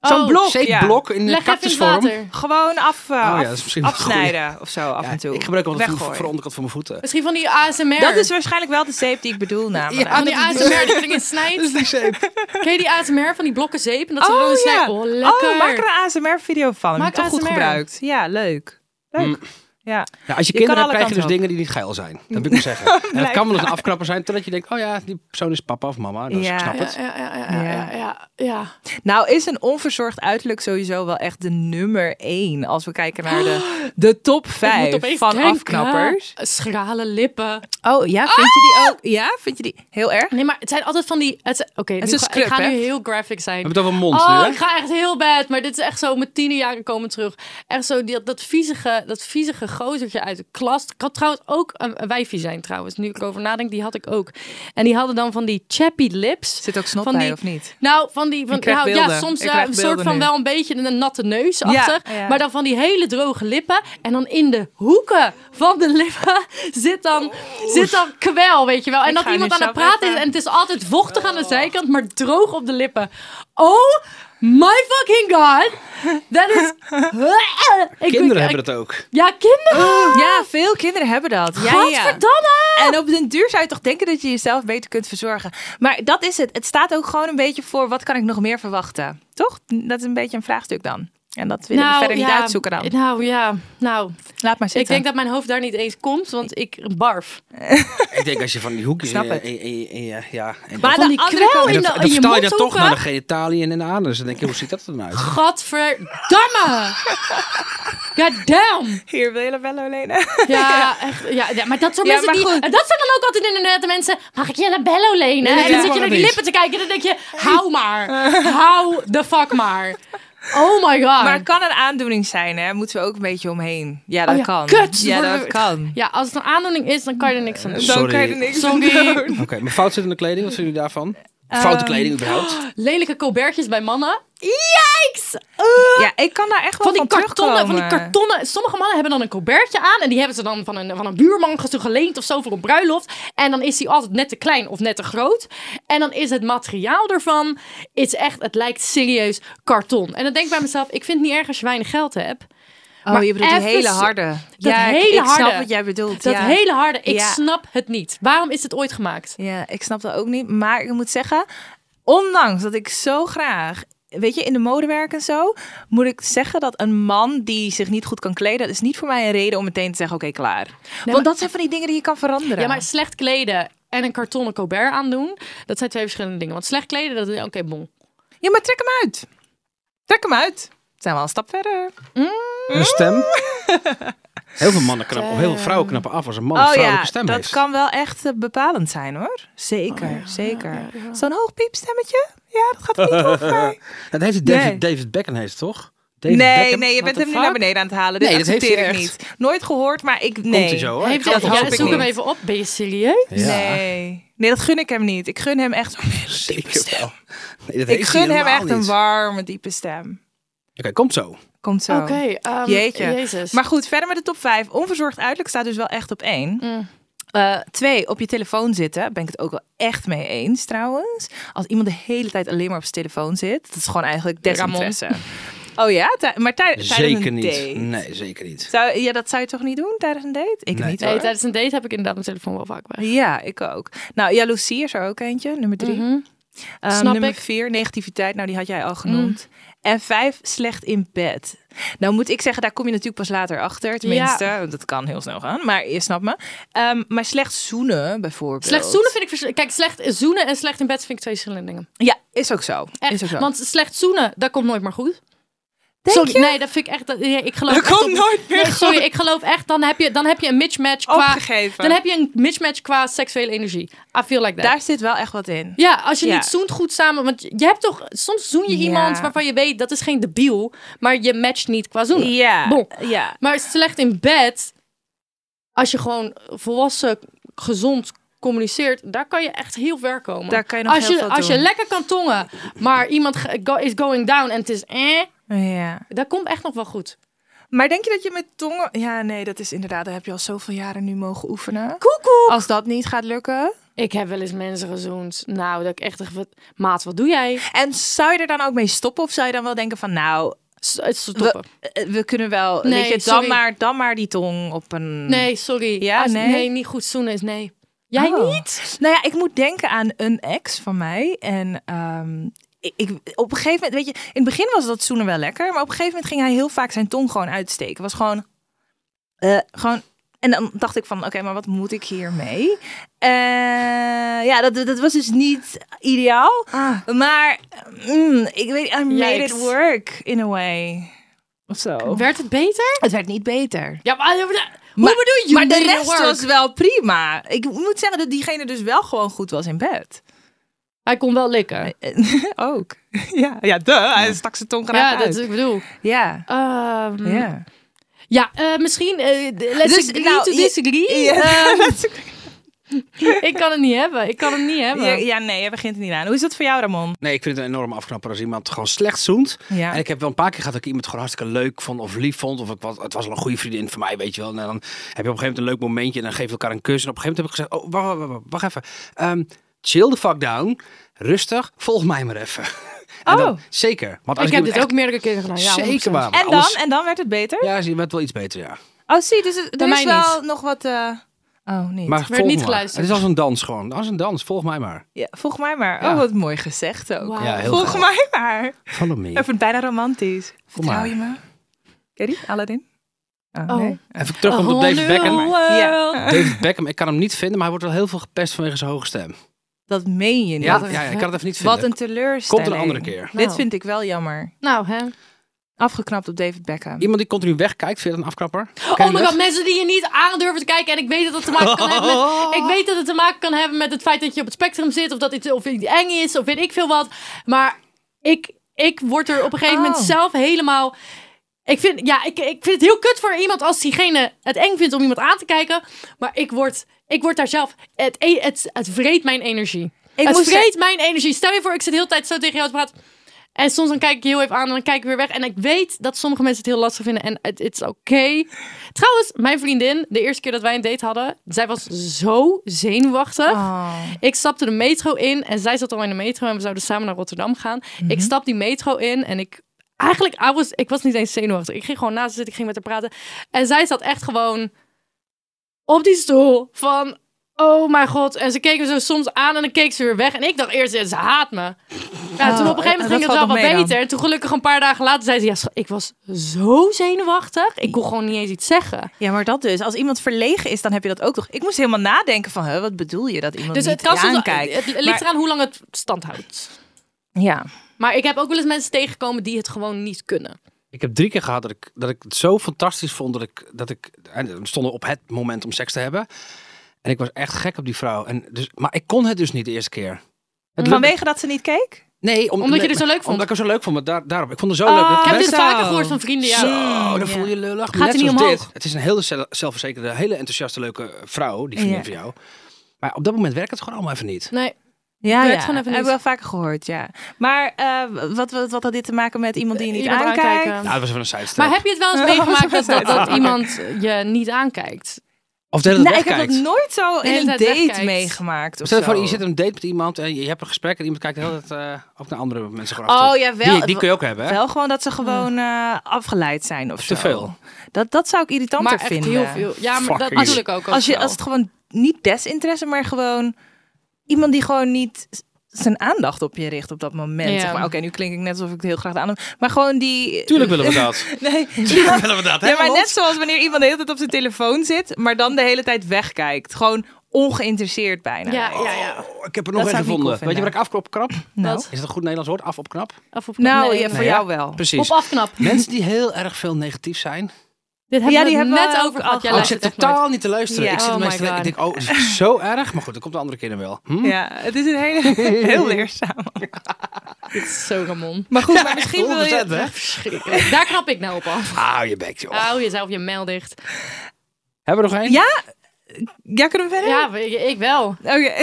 S1: Oh,
S4: Zo'n blok.
S2: ja.
S4: Zeepblok in
S1: Leg even in het
S4: cactusvorm.
S1: water.
S2: Gewoon af, eh,
S4: Oh ja,
S2: af-
S4: dat is misschien wel een
S2: afsnijden of zo af
S4: Ja,
S2: en toe.
S4: ik gebruik hem altijd voor,
S2: Weggooien.
S4: voor de onderkant van mijn voeten.
S1: Misschien van die ASMR.
S2: Dat is waarschijnlijk wel de zeep die ik bedoel namelijk.
S1: Van die ASMR Dus die erin snijdt.
S4: die zeep.
S1: Ken je die ASMR van die blokken zeep? En dat ze dan een snijden. Oh, lekker.
S2: Oh, maak er een ASMR-video van. Heb
S1: Maak
S2: ik toch goed
S1: ASMR.
S2: gebruikt. Ja, leuk. Leuk.
S4: Mm.
S2: Ja.
S4: Nou, als je,
S2: Je kan
S4: kinderen
S2: alle
S4: hebt, krijg je
S2: kanten
S4: dus
S2: op.
S4: dingen die niet geil zijn. Dat wil ik maar zeggen. En dat kan wel eens een afkrapper zijn, totdat je denkt, oh ja, die persoon is papa of mama. Dus
S2: Ja.
S4: ik snap
S1: Ja,
S4: het.
S1: ja, ja, ja, ja, ja, ja.
S2: Nou is een onverzorgd uiterlijk sowieso wel echt de nummer één. Als we kijken naar de, de top
S1: Ik moet
S2: vijf
S1: opeens
S2: van
S1: denken.
S2: afknappers.
S1: Schrale lippen.
S2: Oh ja, vind je
S1: Ah!
S2: die ook? Ja, vind je die heel erg?
S1: Nee, maar het zijn altijd van die... het zijn- Oké, nu
S2: is een
S1: ga-
S2: scrub,
S1: ik ga
S2: hè?
S1: nu heel graphic zijn.
S4: We hebben het over mond nu,
S1: oh,
S4: hè?
S1: ik ga echt heel bad. Maar dit is echt zo, mijn tiende jaren komen terug. Echt zo, die, dat, viezige, dat viezige gozertje uit de klas. Ik had trouwens ook een, een wijfie zijn trouwens. Nu ik erover nadenk, die had ik ook. En die hadden dan van die chappy lips.
S2: Zit ook snot
S1: van
S2: bij,
S1: die-
S2: of niet?
S1: Nou, van die... Van,
S2: Ik krijg
S1: nou, ja,
S2: beelden.
S1: soms
S2: Ik
S1: eh,
S2: krijg
S1: een soort
S2: beelden
S1: van
S2: nu.
S1: wel een beetje een, een natte neus achter.
S2: ja.
S1: Maar dan van die hele droge lippen. En dan in de hoeken van de lippen zit dan, zit dan kwel, weet je wel. En
S2: Ik
S1: dat
S2: ga
S1: iemand
S2: nu
S1: aan het
S2: zelf
S1: praten is
S2: even- Oh.
S1: en het is altijd vochtig aan de zijkant, maar droog op de lippen. Oh my fucking god. Dat is... Ik-
S4: Kinderen
S1: ik-
S4: hebben dat ook.
S1: Ja, kinderen.
S2: Ja, veel kinderen hebben dat. Oh. Ja, ja.
S1: Godverdamme.
S2: En op den duur zou je toch denken dat je jezelf beter kunt verzorgen. Maar dat is het. Het staat ook gewoon een beetje voor wat kan ik nog meer verwachten. Toch? Dat is een beetje een vraagstuk dan. En dat willen we verder niet
S1: Nou, ja,
S2: uitzoeken dan.
S1: Nou ja, nou.
S2: Laat maar zitten.
S1: Ik denk dat mijn hoofd daar niet eens komt, want ik barf.
S4: Ik denk als je van die hoekjes...
S2: Snap
S4: in-
S2: het.
S4: in- in- in- ja, ja, en
S1: Maar
S2: Maar
S1: van
S2: de
S1: die
S2: andere
S1: kwel
S2: kant-
S4: En
S1: in,
S4: dat,
S1: de,
S4: dat
S1: in je
S4: vertaal je dan toch naar de
S1: mondhoeken.
S4: genitaliën en de anus. Dan denk je, hoe ziet dat er nou uit?
S1: Godverdamme. God damn.
S2: Hier wil je labello lenen.
S1: Ja, echt, ja, ja, maar dat soort
S2: Ja,
S1: mensen
S2: maar
S1: die...
S2: goed.
S1: En dat zijn dan ook altijd inderdaad de mensen... Mag ik je labello lenen?
S4: Nee,
S1: en dan
S4: dat
S1: zit je
S4: mag
S1: naar die
S4: niet.
S1: lippen te kijken en dan denk je... Hou maar. Hou de fuck maar. Oh my god.
S2: Maar het kan een aandoening zijn, hè? Moeten we ook een beetje omheen. Ja, dat
S1: Oh ja,
S2: kan.
S1: kut.
S2: Ja,
S1: Worden
S2: dat
S1: we-
S2: kan.
S1: Ja, als het een aandoening is, dan kan je er niks aan doen.
S4: Sorry.
S2: Dan kan je er niks aan
S1: Sorry.
S2: doen.
S4: Oké, maar fout zit in de kleding. Wat vinden jullie daarvan? Foute kleding überhaupt?
S1: Lelijke colbertjes bij mannen. Yikes!
S2: Ja, ik kan daar echt wel
S1: van
S2: van,
S1: die kartonnen,
S2: terugkomen.
S1: van die kartonnen. Sommige mannen hebben dan een colbertje aan en die hebben ze dan van een, van een buurman gestu- geleend of zo voor een bruiloft. En dan is die altijd net te klein of net te groot. En dan is het materiaal ervan, is echt, het lijkt serieus karton. En dan denk ik bij mezelf, ik vind het niet erg als je weinig geld hebt.
S2: Oh,
S1: Maar
S2: je bedoelt die
S1: even
S2: hele
S1: zo-
S2: harde.
S1: dat
S2: ja, ik-
S1: hele
S2: ik snap
S1: harde.
S2: wat jij bedoelt.
S1: Dat
S2: ja.
S1: hele harde, ik
S2: Ja.
S1: snap het niet. Waarom is het ooit gemaakt?
S2: Ja, ik snap dat ook niet. Maar ik moet zeggen, ondanks dat ik zo graag, weet je, in de mode werk en zo, moet ik zeggen dat een man die zich niet goed kan kleden, dat is niet voor mij een reden om meteen te zeggen, oké, klaar. Want
S1: maar-
S2: dat zijn van die dingen die je kan veranderen.
S1: Ja, maar slecht kleden en een kartonnen colbert aandoen, dat zijn twee verschillende dingen. Want slecht kleden, dat is oké, bon.
S2: Ja, maar trek hem uit. Trek hem uit. Zijn we al een stap verder.
S4: Een stem? Heel veel mannen knappen, of heel veel vrouwen knappen af als een man een vrouwelijke stem
S2: Oh dat
S4: heeft.
S2: kan wel echt eh, bepalend zijn hoor. Zeker, zeker. Zo'n hoog piepstemmetje. Ja, dat gaat er niet over. mij.
S3: Nou,
S4: Dat heeft David,
S2: Nee.
S4: David Beckham heeft toch? David
S2: Nee,
S4: Beckham?
S2: nee, je
S4: What
S2: bent
S4: the
S2: hem nu
S4: fuck?
S2: naar beneden aan het halen. Dit
S4: Nee, dat heeft
S2: accepteer
S4: hij
S2: ik
S4: echt.
S2: niet. Nooit gehoord, maar ik nee.
S4: Komt hij zo hoor.
S1: Heeft
S4: Ik
S1: hij-
S2: dat
S1: ja,
S2: hoop ik
S1: zoek hem
S2: niet.
S1: even op. Ben je serieus?
S4: Ja.
S2: Nee. Nee, dat gun ik hem niet. Ik gun hem echt zo'n hele diepe
S3: Zeker
S2: stem.
S3: wel. Nee, dat
S2: Ik
S3: heeft
S2: gun
S3: hij
S2: hem
S3: helemaal
S2: echt een
S3: niet.
S2: warme, diepe stem.
S3: Oké, komt zo.
S2: Komt zo.
S1: Oké, ehm,
S2: Jeetje.
S1: Jezus.
S2: Maar goed, verder met de top 5. Onverzorgd uiterlijk staat dus wel echt op één. Eh, twee, op je telefoon zitten. Ben ik het ook wel echt mee eens trouwens. Als iemand de hele tijd alleen maar op zijn telefoon zit. Dat is gewoon eigenlijk desinteresse. Oh ja? Tij- maar tij- tijdens
S3: Zeker
S2: een
S3: niet.
S2: date?
S3: Nee, zeker niet.
S2: Zou, ja, dat zou je toch niet doen tijdens een date? Ik
S3: Nee.
S2: niet hoor.
S1: nee, tijdens een date heb ik inderdaad mijn telefoon wel vaak weg.
S2: Ja, ik ook. Nou, jaloezie is er ook eentje, nummer drie. Ehm,
S1: Mhm. Snap
S2: nummer
S1: ik. Mm.
S2: vier, negativiteit. Nou, die had jij al genoemd. En vijf, slecht in bed. Nou moet ik zeggen, daar kom je natuurlijk pas later achter. Tenminste, want dat kan heel snel gaan. Maar je snapt me. Ehm, maar slecht zoenen bijvoorbeeld.
S1: Slecht zoenen vind ik... vers- Kijk, slecht zoenen en slecht in bed vind ik twee verschillende dingen.
S2: Ja, is ook zo.
S1: Echt,
S2: Is ook zo.
S1: want slecht zoenen, dat komt nooit meer goed.
S2: Denk
S1: sorry,
S2: je?
S1: nee, dat vind ik echt. Dat, nee, ik geloof
S2: Dat
S1: echt
S2: komt nooit meer
S1: nee, Sorry, ik geloof echt. Dan heb je, dan heb je een mismatch qua.
S2: Opgegeven.
S1: Dan heb je een mismatch qua seksuele energie. I feel like that.
S2: daar zit wel echt wat in.
S1: ja, als je
S2: Ja.
S1: niet zoent goed samen. Want je hebt toch. Soms zoen je
S2: Ja.
S1: iemand waarvan je weet dat is geen debiel. Maar je matcht niet qua zoenen.
S2: Ja.
S1: Bon.
S2: ja.
S1: Maar slecht in bed. Als je gewoon volwassen, gezond communiceert. Daar kan je echt heel ver komen.
S2: Daar kan je nog
S1: als
S2: heel
S1: je,
S2: veel
S1: Als je
S2: doen.
S1: lekker kan tongen. Maar iemand ge- go- is going down en het is eh.
S2: ja.
S1: Dat komt echt nog wel goed.
S2: Maar denk je dat je met tongen... Ja, nee, dat is inderdaad... Daar heb je al zoveel jaren nu mogen oefenen.
S1: Koekoek!
S2: Als dat niet gaat lukken...
S1: Ik heb wel eens mensen gezoend. Nou, dat ik echt dacht, wat, maat, wat doe jij?
S2: En zou je er dan ook mee stoppen? Of zou je dan wel denken van nou,
S1: S- eh, Stoppen.
S2: eh, we kunnen wel,
S1: Nee,
S2: weet je,
S1: sorry.
S2: dan maar, dan maar die tong op een...
S1: Nee, sorry.
S2: Ja,
S1: Als-
S2: nee?
S1: nee, niet goed zoenen is nee. Jij
S2: Oh.
S1: niet?
S2: Nou ja, ik moet denken aan een ex van mij. En ehm, ik, ik- op een gegeven moment, weet je, in het begin was dat zoenen wel lekker. Maar op een gegeven moment ging hij heel vaak zijn tong gewoon uitsteken. Was gewoon, eh, gewoon... En dan dacht ik van, oké, maar wat moet ik hiermee? Eh, ja, dat, dat was dus niet ideaal. Maar mm, ik weet, I made
S1: Yikes.
S2: it work in a way. Of zo.
S1: Werd het beter?
S2: Het werd niet beter.
S1: Ja, Oh. maar, hoe bedoel je?
S2: Maar de
S1: made it
S2: rest
S1: work?
S2: was wel prima. Ik moet zeggen dat diegene dus wel gewoon goed was in bed.
S1: Hij kon wel likken.
S2: Eh, Ook. Ja, ja duh. Hij stak zijn tong graag
S1: Ja,
S2: ja,
S1: dat
S2: uit.
S1: is ik bedoel.
S2: Ja.
S1: Ehm,
S2: Ja.
S1: Ja, eh, misschien... eh, d- let's
S2: Dus,
S1: agree
S2: nou,
S1: to
S2: je-
S1: disagree.
S2: Ja.
S1: Ehm, ik kan het niet hebben. Ik kan het niet hebben.
S2: Ja, ja, nee, je begint er niet aan. Hoe is dat voor jou, Ramon?
S3: Nee, ik vind het een enorme afknapper als iemand gewoon slecht zoent.
S2: Ja.
S3: En ik heb wel een paar keer gehad dat ik iemand gewoon hartstikke leuk vond of lief vond. Of ik was, het was wel een goede vriendin van mij, weet je wel. En dan heb je op een gegeven moment een leuk momentje en dan geef je elkaar een kus. En op een gegeven moment heb ik gezegd, oh, wacht, wacht, wacht, wacht even. Ehm, chill the fuck down. Rustig. Volg mij maar even. En
S2: Oh.
S3: dan- zeker. Want als
S1: ik heb
S3: iemand
S1: dit ook meerdere keren gedaan. Ja,
S3: echt zeker
S1: 100%.
S3: waar. maar
S2: En dan?
S3: alles-
S2: En dan werd het beter?
S3: Ja, ze werd wel iets beter, ja.
S2: Oh, zie, dus het- er
S1: mij
S2: is wel
S1: niet.
S2: nog wat... eh, Oh, niet.
S3: Maar volg
S1: niet
S3: maar.
S1: geluisterd.
S3: Het is als een dans gewoon. Als een dans. Volg mij maar.
S2: Ja, volg mij maar.
S3: Ja.
S2: Oh, wat mooi gezegd ook.
S1: Wauw.
S3: Ja, heel
S2: Ah. volg
S3: gaaf.
S2: mij maar.
S3: Follow me.
S2: Even bijna romantisch. Vertrouw
S3: maar.
S2: je me? Ken je die? Aladdin? Oh,
S1: Oh.
S2: nee.
S3: Even terugkomt op
S1: A
S3: David
S1: whole
S3: Beckham.
S1: new
S2: Ja.
S1: world.
S3: David Beckham, ik kan hem niet vinden, maar hij wordt wel heel veel gepest vanwege zijn hoge stem.
S2: Dat meen je niet.
S3: Ja, ja, ja, ik kan het even niet vinden.
S2: Wat een teleurstelling.
S3: Komt er een andere keer.
S1: Nou.
S2: Dit vind ik wel jammer.
S1: Nou, hè.
S2: Afgeknapt op David Beckham.
S3: Iemand die continu wegkijkt, vind je dat een afknapper? Ken
S1: Oh
S3: je
S1: my
S3: dat?
S1: god, mensen die je niet aandurven te kijken. En ik weet dat het te maken kan hebben met, ik weet dat het te maken kan hebben met het feit dat je op het spectrum zit. Of dat iets, of iets eng is, of weet ik veel wat. Maar ik, ik word er op een gegeven moment
S2: Oh.
S1: zelf helemaal... Ik vind, ja, ik, ik vind het heel kut voor iemand als diegene het eng vindt om iemand aan te kijken. Maar ik word, ik word daar zelf... Het, e- het, het vreet mijn energie.
S2: Ik
S1: het
S2: moest
S1: vreet mijn energie. Stel je voor, ik zit de hele tijd zo tegen jou te praten. En soms dan kijk ik je heel even aan en dan kijk ik weer weg. En ik weet dat sommige mensen het heel lastig vinden en het is oké. Trouwens, mijn vriendin, de eerste keer dat wij een date hadden, zij was zo zenuwachtig.
S2: Oh.
S1: Ik stapte de metro in en zij zat al in de metro en we zouden samen naar Rotterdam gaan.
S2: Mhm.
S1: Ik stap die metro in en ik... Eigenlijk, I was, ik was niet eens zenuwachtig. Ik ging gewoon naast haar zitten, ik ging met haar praten. En zij zat echt gewoon op die stoel van... Oh mijn god. En ze keken me zo soms aan en dan keek ze weer weg. En ik dacht eerst, ze haat me. Ja, toen op een gegeven moment
S2: Oh, dat
S1: ging het wel
S2: valt
S1: wat
S2: nog mee dan.
S1: beter. En toen gelukkig een paar dagen later zei ze... Ja, schat, ik was zo zenuwachtig. Ik kon gewoon niet eens iets zeggen.
S2: Ja, maar dat dus. Als iemand verlegen is, dan heb je dat ook toch. Ik moest helemaal nadenken van, hè, wat bedoel je dat iemand
S1: Dus
S2: niet
S1: het, kan soms-
S2: aankijkt?
S1: het ligt
S2: Maar-
S1: eraan hoe lang het stand houdt.
S2: Ja.
S1: Maar ik heb ook wel eens mensen tegengekomen die het gewoon niet kunnen.
S3: Ik heb drie keer gehad dat ik, dat ik het zo fantastisch vond dat ik, dat ik. En we stonden op het moment om seks te hebben. En ik was echt gek op die vrouw. En dus, maar ik kon het dus niet de eerste keer. Het lukte-
S2: Vanwege dat ze niet keek?
S3: Nee, om-
S1: Omdat je
S3: nee,
S1: het zo leuk vond.
S3: Omdat ik het zo leuk vond. Maar daar, daarop. Ik vond het zo
S2: Oh,
S3: leuk. dat
S1: Ik heb dit
S3: mensen-
S2: Zo.
S1: vaker gehoord van vrienden. Ja.
S3: Zo, dan
S2: Ja.
S3: voel je je lullig.
S1: Gaat
S3: Net
S1: er niet
S3: zoals
S1: omhoog?
S3: dit. Het is een hele zel- zelfverzekerde, hele enthousiaste, leuke vrouw, die vriendin
S2: Ja.
S3: van jou. Maar Maar op dat moment werkt het gewoon allemaal even niet.
S1: Nee.
S2: Ja,
S1: Werkt
S2: ja.
S1: gewoon even
S2: heb
S1: niet.
S2: ik wel vaker gehoord, ja. Maar eh, wat, wat, wat had dit te maken met iemand die je niet
S1: Iemand
S2: aankijkt?
S1: aankijken.
S3: Nou, dat was even een sidestep.
S1: Maar heb je het wel eens meegemaakt dat, dat, dat iemand je niet aankijkt?
S3: Of dat het
S2: Nou, ik heb
S3: wegkijkt.
S2: dat nooit zo in
S1: hele
S2: een
S1: tijd
S2: date
S1: wegkijkt.
S2: meegemaakt. Of
S3: Stel je voor,
S2: zo.
S3: je zit op een date met iemand en je je hebt een gesprek en iemand kijkt de hele tijd eh, ook naar andere mensen gewoon af
S2: Oh,
S3: toe.
S2: jawel.
S3: Die, die kun je ook hebben, hè?
S2: Wel gewoon dat ze gewoon eh, afgeleid zijn of zo.
S3: Te veel.
S2: Dat, dat zou ik irritanter
S1: Maar echt
S2: vinden.
S1: heel veel. Ja, maar
S3: Fuck
S1: dat
S3: you.
S1: bedoel ik ook. ook
S2: Als, je,
S1: wel.
S2: als het gewoon niet desinteresse, maar gewoon iemand die gewoon niet z- zijn aandacht op je richt op dat moment.
S1: Ja.
S2: Zeg maar, oké, nu klink ik net alsof ik het heel graag de aandacht... Maar gewoon die...
S3: Tuurlijk willen we dat.
S2: Nee,
S3: Tuurlijk willen we dat, hè?
S2: Ja, maar
S3: Hans?
S2: net zoals wanneer iemand de hele tijd op zijn telefoon zit, maar dan de hele tijd wegkijkt. Gewoon ongeïnteresseerd bijna.
S1: Ja, ja, ja.
S3: Oh, ik heb
S2: Dat
S3: er
S2: zou ik
S3: nog één
S2: niet cool
S3: gevonden. Weet je
S2: vinden.
S3: wat ik afknop?
S2: Nou,
S1: Wat?
S3: Is dat een goed Nederlands woord? Af op knap?
S1: Of op,
S2: nou
S1: nee,
S2: ja,
S1: nee.
S2: voor jou wel.
S3: Precies.
S1: Op afknap.
S3: Mensen die heel erg veel negatief zijn.
S1: Dit hebben
S2: Ja,
S1: we
S2: die
S1: het
S2: hebben we
S1: net
S2: ook
S1: over
S2: al
S1: gehad. Jij
S2: gehad.
S3: Oh, ik zit
S1: luistert echt nooit.
S3: totaal niet te luisteren.
S2: Ja.
S3: Ik zit
S1: Oh
S3: oh
S1: my
S3: meestal,
S1: God.
S3: ik denk, oh, het is zo erg. Maar goed, dat komt de andere keer dan wel. Hm?
S2: Ja, het is een hele, heel leerzaam.
S1: Dit is zo Ramon.
S2: Maar goed, maar misschien wil
S3: 100%,
S2: je...
S3: hè?
S1: Verschrikkelijk. Daar knap ik nou op af.
S3: Hou je bek, joh.
S1: Hou jezelf je mijl dicht.
S3: Hebben we nog één?
S2: Ja? Ja, kunnen we verder?
S1: Ja, ik, ik wel.
S2: Oké.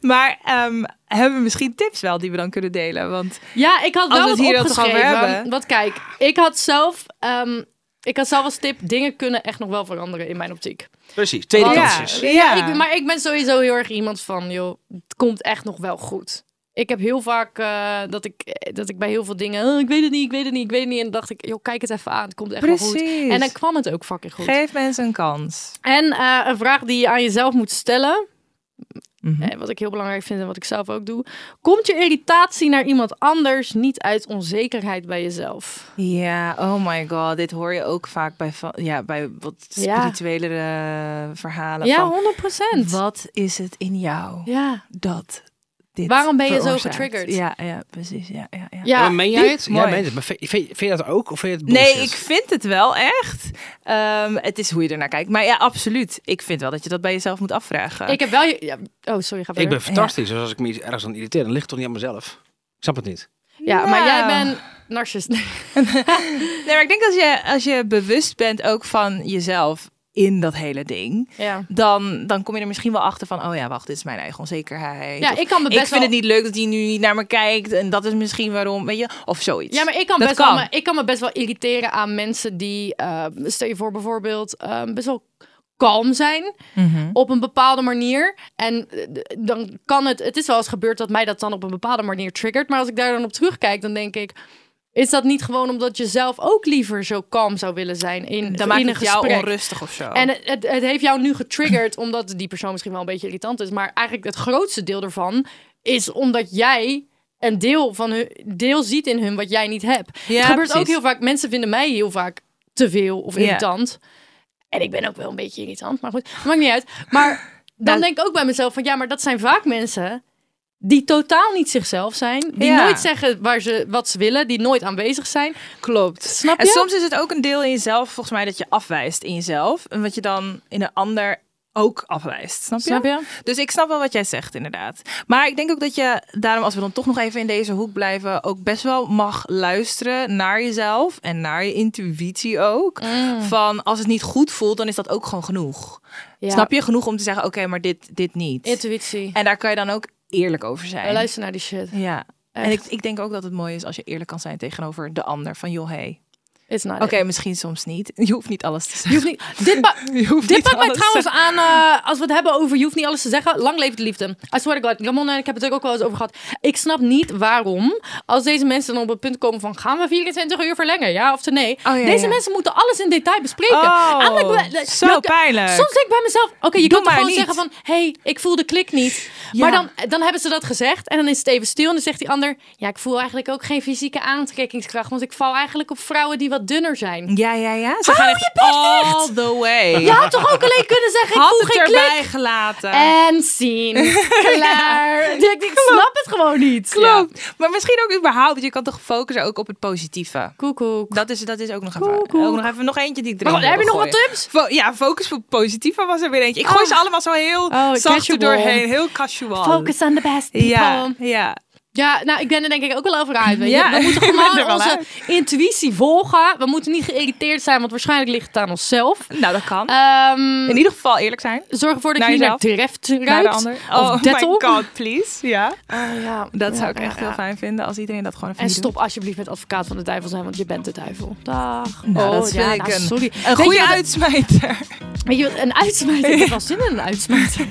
S2: maar ehm, hebben we misschien tips wel die we dan kunnen delen? Want
S1: Ja, ik had
S2: Als
S1: wel
S2: we
S1: wat
S2: het hier dan toch over
S1: opgeschreven.
S2: hebben.
S1: Want kijk, ik had zelf... ehm, ik had zelf als tip, dingen kunnen echt nog wel veranderen in mijn optiek.
S3: Precies, tweede
S1: Oh,
S3: kans is.
S2: ja,
S1: Ik, ben- maar ik ben sowieso heel erg iemand van, joh, het komt echt nog wel goed. Ik heb heel vaak eh, dat, ik, eh, dat ik bij heel veel dingen, "Oh, ik weet het niet, ik weet het niet, ik weet het niet. En dan dacht ik, joh, kijk het even aan, het komt echt wel goed.
S2: Precies.
S1: En dan kwam het ook fucking goed.
S2: geef mensen een kans.
S1: En eh, een vraag die je aan jezelf moet stellen, eh, wat ik heel belangrijk vind en wat ik zelf ook doe. Komt je irritatie naar iemand anders niet uit onzekerheid bij jezelf?
S2: Ja, oh my god. Dit hoor je ook vaak bij, va- ja, bij wat
S1: Ja.
S2: spirituelere eh, verhalen.
S1: Ja,
S2: van,
S1: 100 procent.
S2: wat is het in jou
S1: Ja.
S2: dat dit
S1: Waarom ben je zo
S2: veroorzaakt?
S1: getriggerd?
S2: Ja, ja, precies. Ja, ja, ja.
S1: Ja,
S3: Maar meen jij het?
S2: Mooi.
S3: Ja, meen het. Maar vind, vind- vind je dat ook? Of vind je het
S2: Nee, ik
S3: bullshit?
S2: vind het wel echt. Ehm, het is hoe je ernaar kijkt. Maar ja, absoluut. Ik vind wel dat je dat bij jezelf moet afvragen.
S1: ik heb wel... je- Ja, oh, sorry, ga verder.
S3: Ik ben fantastisch. Dus als ik me ergens aan irriteer, dan ligt het toch niet aan mezelf. Ik snap het niet.
S1: Ja, maar jij
S2: Nou.
S1: bent narcist.
S2: Nee, Nou, maar ik denk als je, als je bewust bent ook van jezelf in dat hele ding,
S1: ja.
S2: dan, dan kom je er misschien wel achter van, oh ja, wacht, dit is mijn eigen onzekerheid.
S1: Ja,
S2: Of,
S1: ik kan me
S2: ik
S1: best
S2: vind
S1: wel-
S2: het niet leuk dat hij nu niet naar me kijkt en dat is misschien waarom, weet je, of zoiets.
S1: Ja, maar ik kan,
S2: Dat
S1: best
S2: kan.
S1: Wel, me- ik kan me best wel irriteren aan mensen die, eh, stel je voor bijvoorbeeld, eh, best wel kalm zijn
S2: Mhm.
S1: op een bepaalde manier. En eh, d- dan kan het, het is wel eens gebeurd dat mij dat dan op een bepaalde manier triggert. Maar als ik daar dan op terugkijk, dan denk ik, is dat niet gewoon omdat je zelf ook liever zo kalm zou willen zijn in,
S2: dan
S1: in
S2: maakt
S1: een
S2: het jou
S1: gesprek?
S2: onrustig of zo.
S1: En het, het, het heeft jou nu getriggerd omdat die persoon misschien wel een beetje irritant is. Maar eigenlijk het grootste deel daarvan is omdat jij een deel, van hun, deel ziet in hun wat jij niet hebt.
S2: Ja,
S1: het gebeurt ook
S2: precies.
S1: heel vaak. Mensen vinden mij heel vaak te veel of
S2: Ja.
S1: irritant. En ik ben ook wel een beetje irritant, maar goed, maakt niet uit. Maar dan
S2: Nou-
S1: denk ik ook bij mezelf van ja, maar dat zijn vaak mensen die totaal niet zichzelf zijn, die
S2: Ja.
S1: nooit zeggen waar ze, wat ze willen, die nooit aanwezig zijn.
S2: eh, klopt.
S1: Snap
S2: En
S1: je?
S2: soms is het ook een deel in jezelf, volgens mij, dat je afwijst in jezelf en wat je dan in een ander ook afwijst. Snap je?
S1: Snap je?
S2: Dus ik snap wel wat jij zegt, inderdaad. Maar ik denk ook dat je daarom, als we dan toch nog even in deze hoek blijven, ook best wel mag luisteren naar jezelf en naar je intuïtie ook.
S1: Mm.
S2: Van als het niet goed voelt, dan is dat ook gewoon genoeg.
S1: Ja.
S2: Snap je? Genoeg om te zeggen: oké, maar dit, dit niet.
S1: Intuïtie.
S2: en daar kan je dan ook eerlijk over zijn.
S1: Luister naar die shit.
S2: ja. En ik,
S1: Echt.
S2: ik denk ook dat het mooi is als je eerlijk kan zijn tegenover de ander. Van joh, hey.
S1: It's not
S2: Oké,
S1: it.
S2: misschien soms niet. Je hoeft niet alles te zeggen.
S1: Je hoeft niet, dit ba- dit
S2: niet
S1: pakt mij
S2: alles te
S1: trouwens aan, eh, als we het hebben over je hoeft niet alles te zeggen. Lang leeft de liefde. I swear to God. Ramon en ik hebben het er ook wel eens over gehad. Ik snap niet waarom, als deze mensen dan op het punt komen van gaan we 24 uur verlengen, ja of nee.
S2: Oh, ja,
S1: deze
S2: ja.
S1: mensen moeten alles in detail bespreken.
S2: Oh,
S1: Eigenlijk wel-
S2: zo pijnlijk.
S1: Soms denk ik bij mezelf, oké, je
S2: Doe
S1: kan toch
S2: maar
S1: gewoon
S2: niet.
S1: zeggen van, hé, hey, ik voel de klik niet. Maar dan, dan hebben ze dat gezegd en dan is het even stil en dan zegt die ander, ja, ik voel eigenlijk ook geen fysieke aantrekkingskracht, want ik val eigenlijk op vrouwen die wat dunner zijn.
S2: Ja, ja, ja. Ze gaan
S1: Hou
S2: Oh, echt
S1: je bek
S2: all
S1: dicht!
S2: the way.
S1: Je had toch ook alleen kunnen zeggen, ik
S2: Had
S1: voel
S2: het
S1: geen klik.
S2: erbij gelaten.
S1: En zien. Klaar. Ik, denk, ik snap het gewoon niet.
S2: Klopt. Maar misschien ook überhaupt. Je kan toch focussen ook op het positieve.
S1: Koekoek.
S2: Dat is, dat is ook nog even.
S1: Koekoek.
S2: Ook nog even nog eentje die ik erin
S1: Maar goed, heb je
S2: wilde
S1: nog wat
S2: gooien.
S1: tips?
S2: Fo- ja, focus op het positieve was er weer eentje. Ik gooi
S1: Oh.
S2: ze allemaal zo heel
S1: Oh,
S2: zacht er
S1: casual.
S2: doorheen. Heel casual.
S1: Focus on the best people.
S2: Ja, ja.
S1: Ja, nou, ik ben er denk ik ook wel over uit. Weet je?
S2: Ja,
S1: we moeten
S2: ik ben
S1: gewoon
S2: er wel
S1: onze intuïtie volgen. We moeten niet geïrriteerd zijn, want waarschijnlijk ligt het aan onszelf.
S2: Nou, dat kan.
S1: Ehm,
S2: In ieder geval eerlijk zijn.
S1: zorg ervoor dat
S2: naar
S1: je niet naar
S2: jezelf.
S1: treft
S2: Naar de
S1: ruikt.
S2: ander.
S1: Of
S2: oh
S1: Dettol.
S2: my god, please. Ja.
S1: Oh, ja.
S2: Dat
S1: Ja,
S2: zou ik echt
S1: ja, ja.
S2: heel fijn vinden als iedereen dat gewoon even
S1: En
S2: niet
S1: stop alsjeblieft met advocaat van de duivel zijn, want je bent de duivel. Dag.
S2: Nou,
S1: oh,
S2: dat
S1: ja,
S2: vind
S1: nou,
S2: ik een-
S1: sorry.
S2: doet. Een goede
S1: je wat-
S2: uitsmijter.
S1: Weet je wat, een uitsmijter. Ik heb wel zin in een uitsmijter.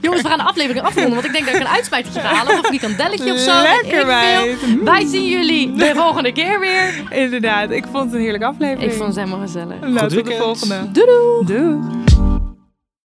S1: Jongens, we gaan de aflevering afronden, want ik denk dat ik een uitsmijtertje ga halen. Of een frikandelletje of zo. weet
S2: Lekker,
S1: ik veel.
S2: meid. Mm.
S1: Wij zien jullie de volgende keer weer.
S2: Inderdaad, ik vond het een heerlijke aflevering.
S1: Ik vond het helemaal gezellig.
S2: Nou, tot de
S3: weekend.
S2: volgende.
S1: Doei doei.
S2: Doei.